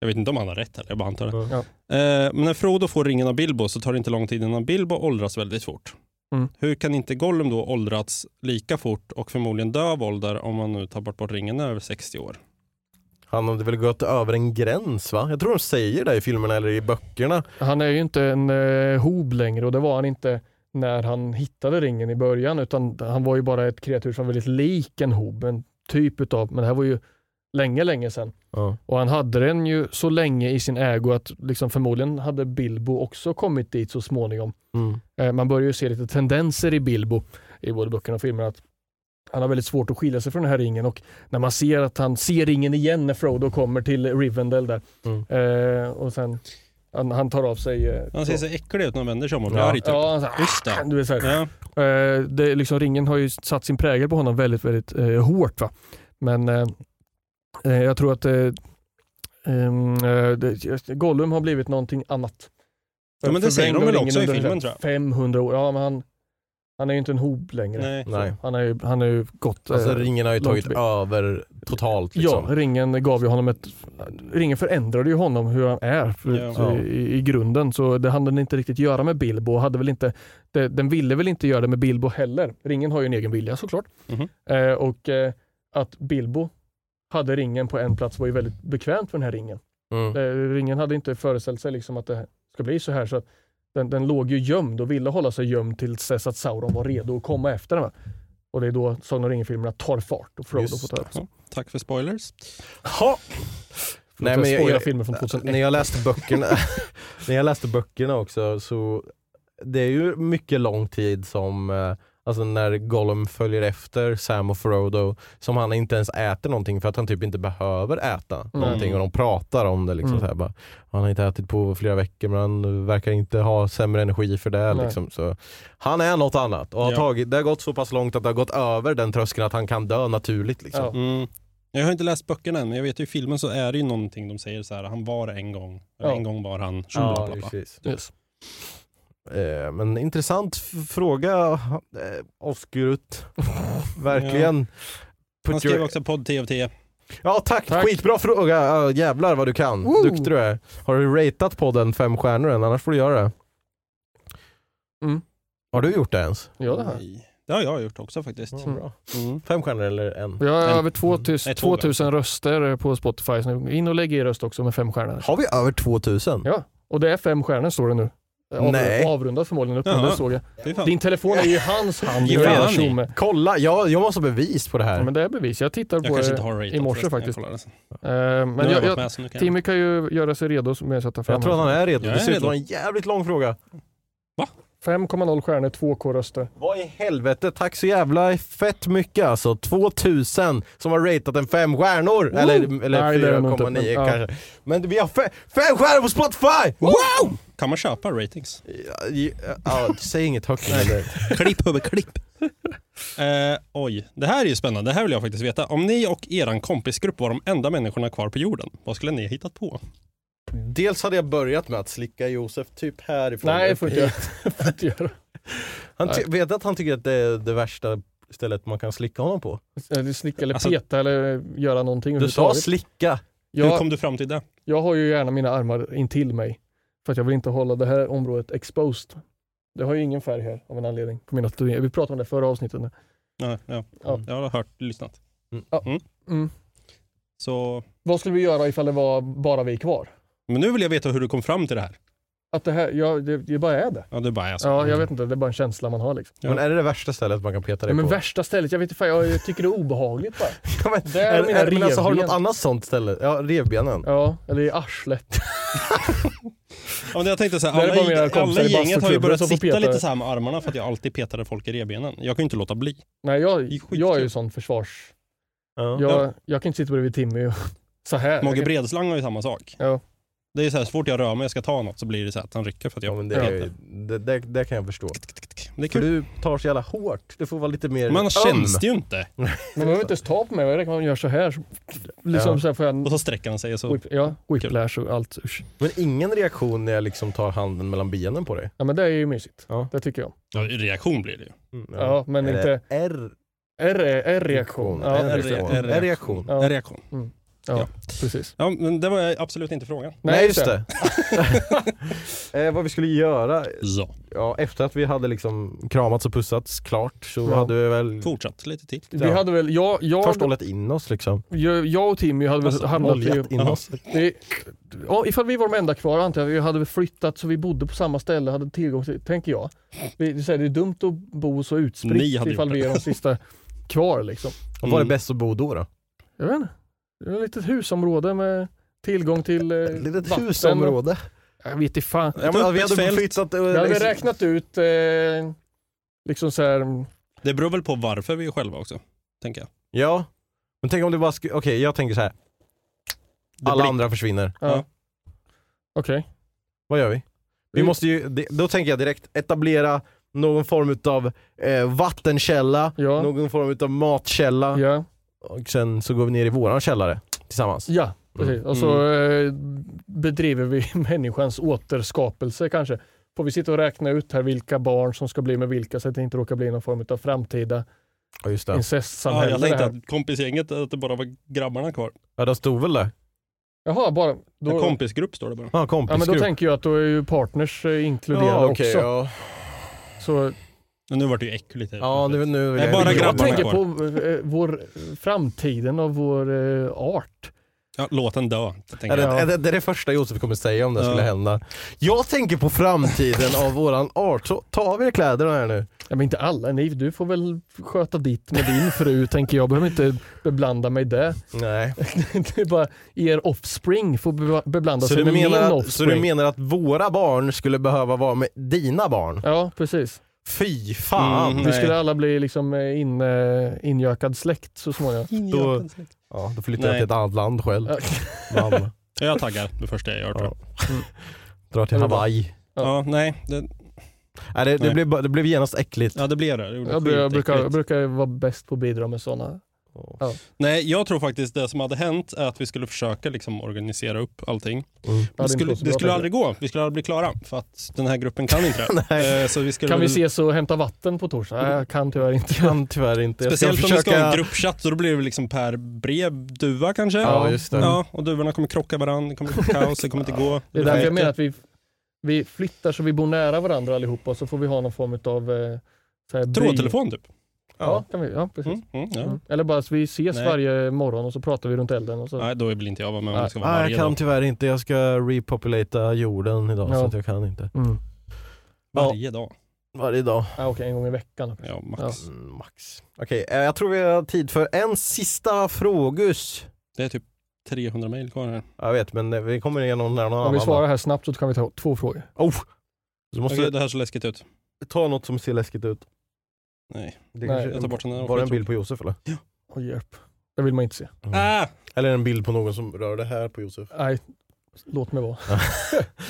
Jag vet inte om han har rätt heller, jag bara antar det. Ja. Eh, men när Frodo får ringen av Bilbo så tar det inte lång tid innan Bilbo åldras väldigt fort. Mm. Hur kan inte Gollum då åldrats lika fort och förmodligen dö av ålder om man nu tar bort, bort ringen över 60 år? Han hade väl gått över en gräns va? Jag tror de säger det i filmerna eller i böckerna. Han är ju inte en eh, hob längre och det var han inte när han hittade ringen i början utan han var ju bara ett kreatur som var väldigt lik en hob, en typ utav, men det här var ju länge, länge sedan. Ja. Och han hade den ju så länge i sin ägo att liksom förmodligen hade Bilbo också kommit dit så småningom. Mm. Eh, Man börjar ju se lite tendenser i Bilbo i både böckerna och filmerna. Att han har väldigt svårt att skilja sig från den här ringen och när man ser att han ser ringen igen när Frodo kommer till Rivendell där. Mm. Eh, och sen han, han tar av sig... eh, Han ser så äcklig ut när han vänder sig om och blir Ja, arg typ. ja han så här, Just det. du vet, så här. Ja. Eh, det, är liksom, ringen har ju satt sin prägel på honom väldigt, väldigt eh, hårt. Va? Men eh, eh, jag tror att eh, ehm, eh, det, Gollum har blivit någonting annat. Ja, men det säger de Förvrängde väl också ringen i under filmen, tror jag. 500 år. Ja, men han, han är ju inte en hob längre. Nej. Nej. Han har ju, han är ju gått... Alltså eh, ringen har ju långt tagit förbi. över totalt liksom. Ja, ringen gav ju honom ett... Ringen förändrade ju honom hur han är för, Ja. så i, i grunden. Så det hann den inte riktigt göra med Bilbo. och Hade väl inte, det, den ville väl inte göra det med Bilbo heller. Ringen har ju en egen vilja såklart. Mhm. Eh, och eh, att Bilbo hade ringen på en plats var ju väldigt bekvämt för den här ringen. Mm. Eh, ringen hade inte föreställt sig liksom att det här ska bli så här. Så att den, den låg ju gömd och ville hålla sig gömd tills dess att Sauron var redo att komma efter den. Va? Och det är då Sagan om ringen-filmerna tar fart och Frodo Just får ta över. Ja, Tack för spoilers. Ha. Nej, men jag, Spoila jag, alltså, filmer från 2001. när jag läste böckerna När jag läste böckerna också så det är ju mycket lång tid som eh, Alltså när Gollum följer efter Sam och Frodo som han inte ens äter någonting för att han typ inte behöver äta någonting och de pratar om det liksom Mm. så här, bara, Han har inte ätit på flera veckor men han verkar inte ha sämre energi för det Nej. liksom. så Han är något annat och har Ja. tagit, det har gått så pass långt att det har gått över den tröskeln att han kan dö naturligt liksom. Ja. Mm. Jag har inte läst böckerna än, men jag vet ju i filmen så är det ju någonting de säger så här, han var en gång, eller Ja. en gång var han, Ja, bla, bla, bla. precis. Yes. Eh, men intressant f- fråga, eh, Oskurut. Verkligen. Han Put skrev your... också podd TFT. Ja tack, Tack. skitbra fråga. Ja, jävlar vad du kan. Woo! Duktig du är. Har du ratat podden fem stjärnor än? Annars får du göra det. Mm. Har du gjort det ens? Ja, det här. Nej. Det har jag gjort också faktiskt. Ja, bra. Mm. Fem stjärnor eller en? Vi har En- över 2000, Mm. Nej, två gånger. 2000 röster på Spotify. Så nu in och lägg er röst också med fem stjärnor. Har vi över 2000? Ja, och det är fem stjärnor står det nu. Av, Nej. Avrundat förmodligen upp, men Ja. det såg jag. Fy fan. Din telefon är ju i hans hand. Ge jävla fan i. tjomme. Kolla, jag, jag måste ha bevis på det här. ja, men det är bevis. Jag tittar Jag på kanske det. inte har ratat i morse förresten, jag faktiskt. kollar det sen. Eh, Nu Men har jag jag, gått jag, med, så nu kan jag- Timmy kan ju göra sig redo med att ta fram jag tror att han är redo. Jag är Det ser ut att redo. vara en jävligt lång fråga. 5,0 stjärnor, 2K röster. Vad i helvete, tack så jävla fett mycket alltså. 2000 som har ratat en fem stjärnor. Eller, eller Nej, det är det nog inte, 4,9 men- ja. kanske. Men vi har fe- fem stjärnor på Spotify! Wow! Kan man köpa ratings? Ja, ja, ja, säg inget högt nu. eller- klipp över klipp. Eh, oj, det här är ju spännande. Det här vill jag faktiskt veta. Om ni och eran kompisgrupp var de enda människorna kvar på jorden, vad skulle ni ha hittat på? Dels hade jag börjat med att slicka Josef typ härifrån. Nej, upp får inte hit. göra. Får inte göra. Han ty- vet att han tycker att det är det värsta stället man kan slicka honom på. Eller Slicka eller Alltså- peta eller göra någonting Du sa överhuvudtaget. slicka. Hur Jag- kom du fram till det? Jag har ju gärna mina armar intill mig för att jag vill inte hålla det här området exposed. Det har ju ingen färg här av en anledning. På mina tatueringar. Vi pratade om det i förra avsnittet. nu. Ja, ja. Ja. Jag har hört, lyssnat. Mm. Så, Vad skulle vi göra ifall det var bara vi kvar? men nu vill jag veta hur du kom fram till det här. Att det här, ja, det, det bara är det. Ja, det bara är så. Ja, jag vet inte, det är bara en känsla man har liksom. Men är det det värsta stället man kan peta Ja, dig men på? värsta stället, jag vet inte fan, jag, jag tycker det är obehagligt bara. Ja, men, Där är är, mina är, men alltså, har du något revben. annat sånt ställe? Ja, revbenen. Ja, eller i arslet. Ja, men jag tänkte så Det här, här är alla, bara mina i- alla kompisar i i gänget har ju bastuklubben börjat som får sitta peta. lite så här med armarna för att jag alltid petade folk i revbenen. Jag kan ju inte låta bli. Nej, Det är jag, skitkul. jag är ju sån försvars... Ja. Jag, jag kan inte sitta bredvid Timmy och så här. Mogge Jag kan- Bredslang har ju samma sak. Ja. Det är ju så här, så fort jag rör mig och ska ta något så blir det så här att han rycker för att jag... Ja, men det, Ja. är- det, det, det kan jag förstå. Men det är För kul. du tar så jävla hårt. Du får vara lite mer Man öm. känns det ju inte. Man behöver inte ens ta på mig, det räcker med att man gör så här. Så, liksom Ja. så här får jag... en Och så sträcker han sig och så... Whip, ja, whiplash och allt. Usch. Men ingen reaktion när jag liksom tar handen mellan benen på dig? Ja, men det är ju mysigt. Ja. Det tycker jag. Ja, reaktion blir det ju. Mm. Ja, men Eller inte... R- R-reaktion. Ja, En precis. reaktion. En reaktion. Ja. En reaktion. ja, ja. precis. Ja, men det var absolut inte frågan. Nej just det. eh, vad vi skulle göra, Ja. ja, efter att vi hade liksom kramats och pussats klart så Ja. hade vi väl Fortsatt lite till. Vi Ja. hade väl, jag, först jag, hållit in oss liksom. jag, jag och Timmy hade väl Alltså, hamnat i... Oljat in Ja. oss. Det, ja, ifall vi var de enda kvar antar jag, vi hade väl flyttat så vi bodde på samma ställe, hade tillgång till, tänker jag. Vi, det är så här, det är dumt att bo så Ni utspritt hade ifall gjort vi är de sista kvar liksom. Och var det Mm. bäst att bo då? då? Jag vet inte. Det var ett litet husområde med tillgång till eh, Ett litet vatten. husområde. Jag vet inte fan. Ja, men, vi Öppet hade fält. flyttat... eh, Jag hade liksom- räknat ut eh, liksom så här, Det beror väl på varför vi är själva också, tänker jag. Ja. Men tänk om det bara skulle, okej jag tänker så här. Det alla blir- andra försvinner. ja. Ja. Okej. Vad gör vi? Vi Vi- måste ju, det- då tänker jag direkt etablera någon form av eh, vattenkälla, Ja. någon form av matkälla Ja. och sen så går vi ner i våran källare tillsammans. Ja, Mm. precis. Och så eh, bedriver vi människans återskapelse kanske. Får vi sitta och räkna ut här vilka barn som ska bli med vilka så att det inte råkar bli någon form av framtida Ja just det. Ja, incestsamhälle. jag det tänkte här. att kompisgänget, att det bara var grabbarna kvar. Ja de stod väl där? Jaha, bara... En Då, kompisgrupp står det bara. Ja ja, men då kompisgrupp. tänker jag att då är ju partners eh, inkluderade ja, okej, också. ja. Så, Men nu vart det ju äckligt. här. ja nu, nu vill Nej, bara jag grabbarna tänker kvar. på eh, vår, framtiden av vår eh, art. Ja, låt den dö. tänker Är det, jag. är, det, det är det första Josef kommer säga om det Ja. skulle hända. Jag tänker på framtiden av våran art, så ta av er kläderna här nu. Ja, men inte alla, nej du får väl sköta ditt med din fru tänker jag. Behöver inte beblanda mig i det. Nej. det är bara er offspring får be- beblanda Så sig du, med min menar att, så offspring. du menar att våra barn skulle behöva vara med dina barn? Ja, precis. Fy fan! Mm. Vi Nej. skulle alla bli liksom eh, in, eh, injökad släkt så småningom. Då, ja, då flyttar jag Nej. till ett annat land själv. Ja. Mamma. Ja, Jag taggar det första jag gör tror jag. Drar till Eller vad? Hawaii. Ja. Ja. nej, det, Nej, det, det, Nej. blev, bara- det blev genast äckligt. ja, det blev det. det gjorde Jag, bru- jag, brukar, jag skitäckligt. brukar vara bäst på att bidra med sådana. Nej, jag tror faktiskt det som hade hänt är att vi skulle försöka liksom organisera upp allting. Ja, Det det är skulle, inte så det bra skulle tänker aldrig gå. Vi skulle aldrig bli klara för att den här gruppen kan inte det. Nej. Eh, Så vi skulle jag. Kan vi väl- ses och hämta vatten på torsdag? Nej, jag kan tyvärr inte. Mm. Kan tyvärr inte. Jag Speciellt om vi ska ha försöka- en gruppchatt, så då blir det liksom per brevduva kanske. Ja, just det. Ja, och duvorna kommer krocka varandra, det kommer bli kaos, det kommer inte gå. Det är därför jag blir- menar att vi, vi flyttar så vi bor nära varandra allihopa och så får vi ha någon form av eh, så här by- Trådtelefon typ. Ja, kan vi, ja precis. Mm, mm, ja. Mm. Eller bara att vi ses Nej. varje morgon och så pratar vi runt elden. Och så. Nej, då vill inte jag vara med om det ska vara Nej, varje jag kan typ dag. tyvärr inte. Jag ska repopulata jorden idag Ja. så att jag kan inte. Mm. Varje dag. Varje dag. Ah, Okej, en gång i veckan. Ja, max. Mm, max. Okej, eh, jag tror vi har tid för en sista frågus. Det är typ 300 mejl kvar här. Jag vet, men eh, vi kommer igenom när någon Om vi annan. svarar här snabbt så kan vi ta två frågor. Oh. Du måste Okej, det här ser läskigt ut. ta något som ser läskigt ut. Nej. Det Nej, kanske- jag tar bort den här. Var det en bild på Josef eller? Oj, hjälp. Det vill man inte se. Mm. Ah! Eller en bild på någon som rör det här på Josef? Nej, låt mig vara. Men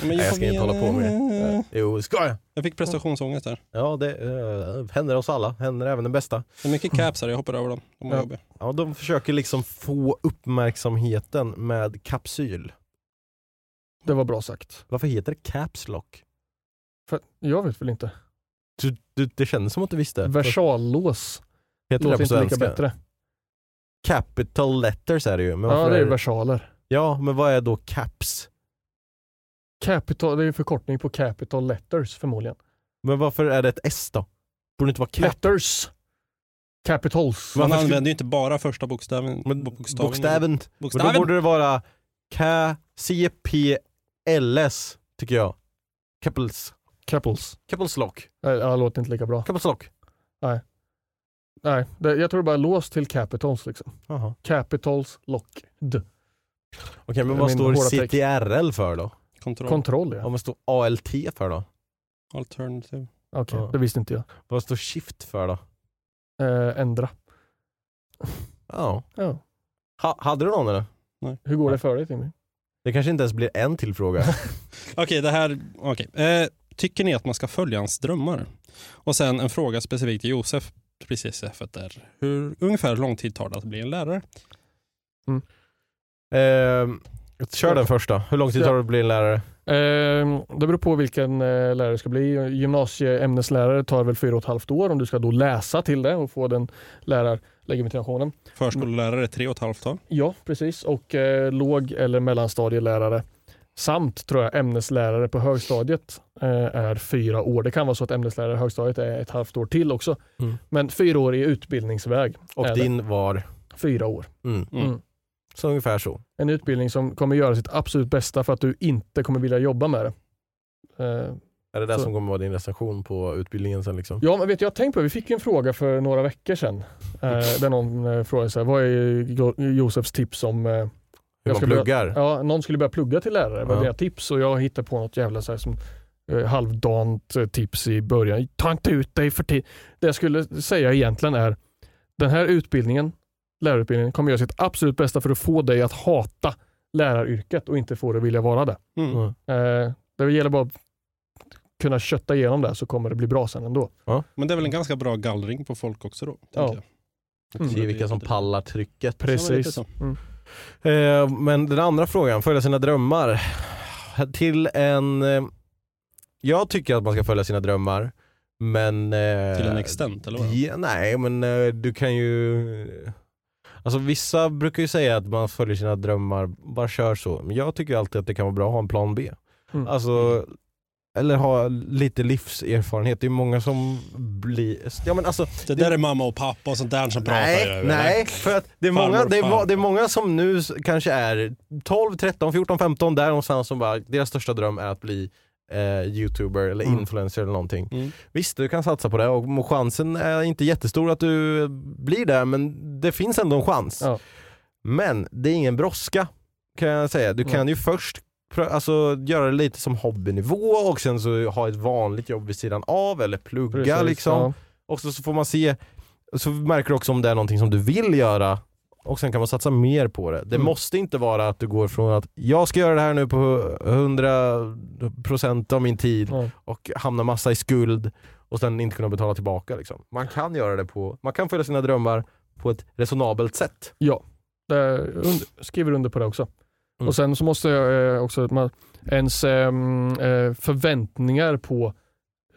Nej, jag får ska inte mer- hålla på med det. Jo, ska jag? Jag fick prestationsångest här. Ja, det eh, händer oss alla. Händer även den bästa. Det är mycket caps här, jag hoppar över dem. De Ja. är jobbiga. Mm. Ja, de försöker liksom få uppmärksamheten med kapsyl. Det var bra sagt. Varför heter det caps lock? För, jag vet väl inte. Du, du, det kändes som att du visste. Versallås Heter det låter på inte lika svenska? bättre. Capital letters är det ju. Men Ja, varför det är versaler. ja, men vad är då caps? Capital, det är ju förkortning på capital letters förmodligen. Men varför är det ett S då? Borde det inte vara cap? Letters! Capitals. Man Varför skulle- använder ju inte bara första bokstaven. Men bokstaven. bokstäven. Men Bokstaven. då borde det vara K-C-P-L-S, tycker jag. Keppels. Couples. Keppels lock. Nej, Ja, det låter inte lika bra. Keppels lock. Nej, det, jag tror det bara är låst till Capitals liksom. Jaha. Capitals locked. Okej, men Jag vad menar, står hårda text. CTRL för då? Kontroll. Kontroll ja. Ja, vad står ALT för då? Alternative. Okej, Ja. det visste inte jag. Vad står Shift för då? Eh, ändra. Ja. Ja. Ha, hade du någon eller? Hur går det för dig Timmy? Det kanske inte ens blir en till fråga. Okej, det här... okej. Eh, tycker ni att man ska följa hans drömmar? Och sen en fråga specifikt till Josef. Precis efter. Hur ungefär lång tid tar det att bli en lärare? Ehm, kör den första. Hur lång tid Ja. tar det att bli en lärare? Ehm, det beror på vilken eh, lärare det ska bli. Gymnasieämneslärare tar väl fyra och ett halvt år om du ska då läsa till det och få den lärarlegitimationen. Förskollärare tre och ett halvt år. Ja, precis. Och eh, låg eller mellanstadielärare samt tror jag ämneslärare på högstadiet eh, är fyra år. Det kan vara så att ämneslärare i högstadiet är ett halvt år till också. Mm. Men fyra år i utbildningsväg. Och är det. din var? Fyra år. Mm. Mm. Mm. Så ungefär så. En utbildning som kommer göra sitt absolut bästa för att du inte kommer vilja jobba med det. Eh, Är det det Så. som kommer vara din recension på utbildningen sen liksom? Ja, men vet du, jag har tänkt på det. Vi fick ju en fråga för några veckor sedan. Eh, där någon eh, frågade så här, vad är Jo- Josefs tips om... Eh, Hur man skulle börja- pluggar? ja, någon skulle börja plugga till lärare. Vad är Ja. dina tips? Och jag hittade på något jävla så här, som, eh, halvdant eh, tips i början. Ta inte ut dig för tid. Det jag skulle säga egentligen är den här utbildningen, lärarutbildningen, kommer göra sitt absolut bästa för att få dig att hata läraryrket och inte få dig att vilja vara det. Mm. Mm. Eh, det gäller bara att kunna kötta igenom det så kommer det bli bra sen ändå. Men det är väl en ganska bra gallring på folk också då? tänker Ja. jag. Mm. Se vilka som pallar trycket. Ja, men lite Precis. så. Eh, men den andra frågan, följa sina drömmar. Till en... Eh, jag tycker att man ska följa sina drömmar, men... Eh, Till en extent eller vad? Ja, nej, men eh, du kan ju... Alltså vissa brukar ju säga att man följer sina drömmar, bara kör så. Men jag tycker alltid att det kan vara bra att ha en plan B. Mm. Alltså, eller ha lite livserfarenhet. Det är många som blir... Ja, men alltså, Det där är mamma och pappa och sånt där som pratar ju, Nej, eller? nej, för att det är, många, Farmor, det, är, farfar. må- det är många som nu s- kanske är 12, 13, 14, 15 där någonstans som bara, deras största dröm är att bli eh, youtuber eller Mm. influencer eller någonting. Mm. Visst, du kan satsa på det och må- chansen är inte jättestor att du eh, blir det, men det finns ändå en chans. Ja. Men det är ingen brådska kan jag säga. Du kan ju först prö- Alltså göra det lite som hobbynivå och sen så ha ett vanligt jobb vid sidan av eller plugga Precis, liksom. ja. Och så, så får man se, så märker du också om det är någonting som du vill göra och sen kan man satsa mer på det. Det Mm. måste inte vara att du går från att jag ska göra det här nu på 100% av min tid Ja. och hamna massa i skuld och sen inte kunna betala tillbaka. Liksom. Man kan göra det på, man kan följa sina drömmar på ett resonabelt sätt. Det, und, skriver under på det också. Mm. Och Sen så måste jag eh, också att man, ens ehm, eh, förväntningar på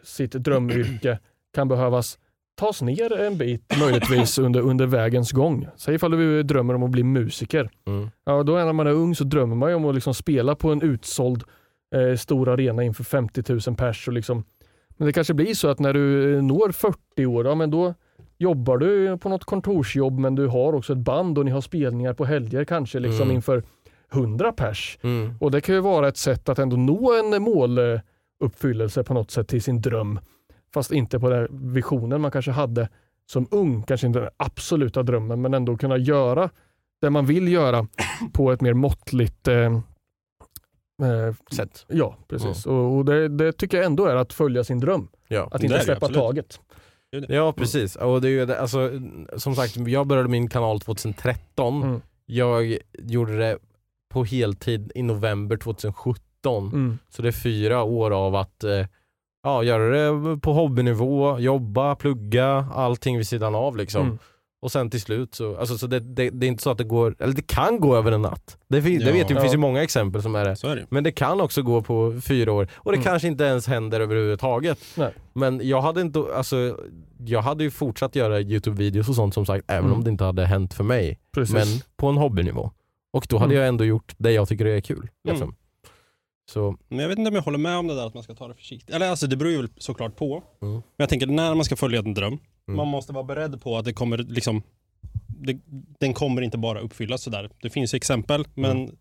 sitt drömyrke kan behövas tas ner en bit möjligtvis under, under vägens gång. Säg ifall du drömmer om att bli musiker. Mm. Ja, då är när man är ung så drömmer man ju om att liksom spela på en utsåld eh, stor arena inför 50 000 pers. Och liksom. Men det kanske blir så att när du eh, når 40 år, ja, men då jobbar du på något kontorsjobb men du har också ett band och ni har spelningar på helger kanske liksom Mm. inför 100 pers. Och det kan ju vara ett sätt att ändå nå en måluppfyllelse på något sätt till sin dröm. Fast inte på den visionen man kanske hade som ung, kanske inte den absoluta drömmen, men ändå kunna göra det man vill göra på ett mer måttligt eh, eh, Sätt. Ja, precis. Och, och det, det tycker jag ändå är att följa sin dröm. Ja. Att Det är inte det, släppa absolut. taget. Ja precis, och det är ju, det- alltså, som sagt jag började min kanal 2013, Mm. jag gjorde det på heltid i november 2017. Mm. Så det är fyra år av att eh, ja, göra det på hobbynivå, jobba, plugga, allting vid sidan av liksom. Mm. Och sen till slut så, alltså, så det, det, det är inte så att det går, eller det kan gå över en natt. Det, fin, det Ja. vet ju, det finns ju Ja. många exempel som är det. Så är det ju. Men det kan också gå på fyra år och det Mm. kanske inte ens händer överhuvudtaget. Nej. Men jag hade inte, alltså jag hade ju fortsatt göra Youtube-videos och sånt som sagt även Mm. om det inte hade hänt för mig. Precis. Men på en hobbynivå. Och då hade Mm. jag ändå gjort det jag tycker är kul. Liksom. Mm. Så, Men jag vet inte om jag håller med om det där att man ska ta det försiktigt. Eller alltså det beror ju väl såklart på. Mm. Men jag tänker när man ska följa en dröm, Mm. man måste vara beredd på att det kommer liksom, det, den kommer inte bara uppfyllas sådär. Det Mm. finns ju exempel, men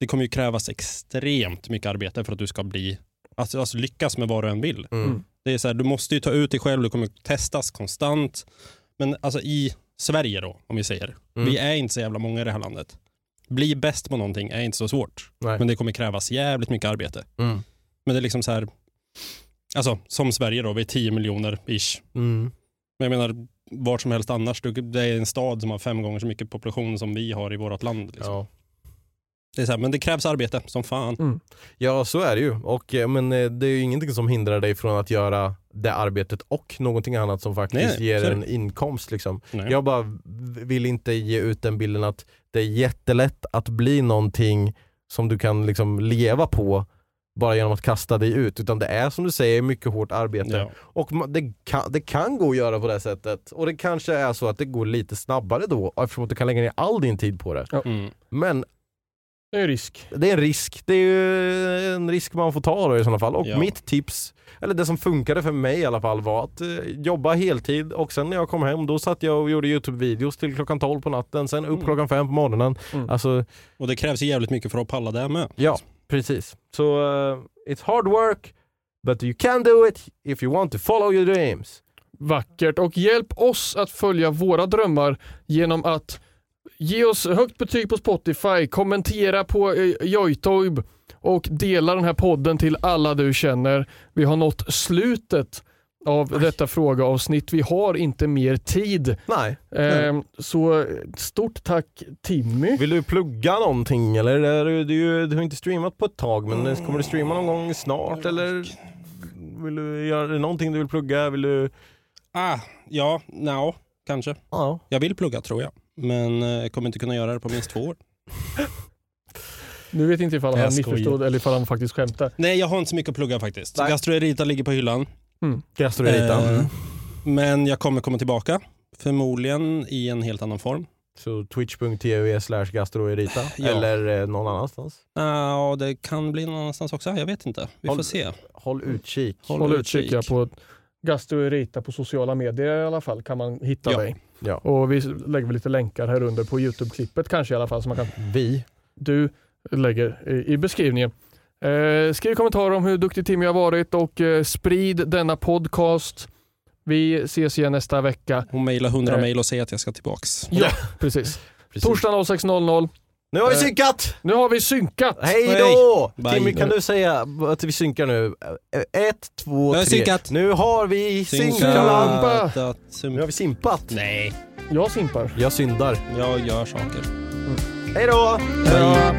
det kommer ju krävas extremt mycket arbete för att du ska bli Alltså, alltså lyckas med vad du än vill. mm. Det är så här, du måste ju ta ut dig själv, du kommer testas konstant. Men alltså i Sverige då, om vi säger. Mm. Vi är inte så jävla många i det här landet. Bli bäst på någonting är inte så svårt. Nej. Men det kommer krävas jävligt mycket arbete. Mm. Men det är liksom så här, alltså som Sverige då, vi är 10 miljoner ish. Mm. Men jag menar, vart som helst annars, du- det är en stad som har fem gånger så mycket population som vi har i vårt land. Liksom. Ja. Det är så här, men det krävs arbete som fan. ja, så är det ju. Och, eh, men eh, det är ju ingenting som hindrar dig från att göra det arbetet och någonting annat som faktiskt Nej, nej, så ger är det. en inkomst. Liksom. Nej. Jag bara v- vill inte ge ut den bilden att det är jättelätt att bli någonting som du kan liksom leva på bara genom att kasta dig ut. Utan det är som du säger mycket hårt arbete. Ja. Och ma- det kan, det kan gå att göra på det här sättet. Och det kanske är så att det går lite snabbare då eftersom att du kan lägga ner all din tid på det. Mm. Men Det är risk. det är en risk. Det är ju en risk man får ta då i sådana fall. Och Ja. mitt tips, eller det som funkade för mig i alla fall var att eh, jobba heltid och sen när jag kom hem då satt jag och gjorde Youtube-videos till klockan 12 på natten, sen upp klockan 5 på morgonen. Mm. Alltså, Och det krävs ju jävligt mycket för att palla det här med. ja, precis. Så eh, it's hard work, but you can do it if you want to follow your dreams. Vackert. Och hjälp oss att följa våra drömmar genom att ge oss högt betyg på Spotify, kommentera på eh, Joytoib och dela den här podden till alla du känner. Vi har nått slutet av detta frågeavsnitt. Vi har inte mer tid. Nej. Ehm, så stort tack Timmy. Vill du plugga någonting eller? Är du, du, du har inte streamat på ett tag men eh, kommer du streama någon gång snart eller? Vill du göra är det någonting du vill plugga? Vill du? Ah, ja, no, kanske. Ja. Jag vill plugga tror jag. Men eh, jag kommer inte kunna göra det på minst två år. Nu vet inte ifall han Jag skojar. missförstod eller ifall han faktiskt skämtar. Nej, jag har inte så mycket att plugga faktiskt. Nej. Gastroerita ligger på hyllan. Gastroeritan. Eh, men jag kommer komma tillbaka. Förmodligen i en helt annan form. Så twitch.tv slash gastroerita Ja. eller eh, någon annanstans. Ja, Eh, det kan bli någon annanstans också. Jag vet inte. Vi Håll- får se. Håll utkik. Håll Håll utkik ja, på Gastroerita på sociala medier i alla fall kan man hitta Ja. dig. Ja. Och vi lägger väl lite länkar här under på Youtube-klippet kanske i alla fall som man kan, Vi. du lägger i, i beskrivningen. Eh, skriv kommentarer om hur duktig Timmy har varit och eh, sprid denna podcast. Vi ses igen nästa vecka. Hon mejlar 100 Eh. mejl och säger att jag ska tillbaks. Ja, precis. Precis. Torsdag 06.00. Nu har vi Eh. synkat! Nu har vi synkat. Hej då! Bye. Timmy kan du säga att vi synkar nu? Eh, Ett, två, Nu tre. har vi synkat. Nu har vi synkat! Synkat. Nu har vi simpat. Nej, Jag simpar. Jag syndar. jag gör saker. Hej då! Hej.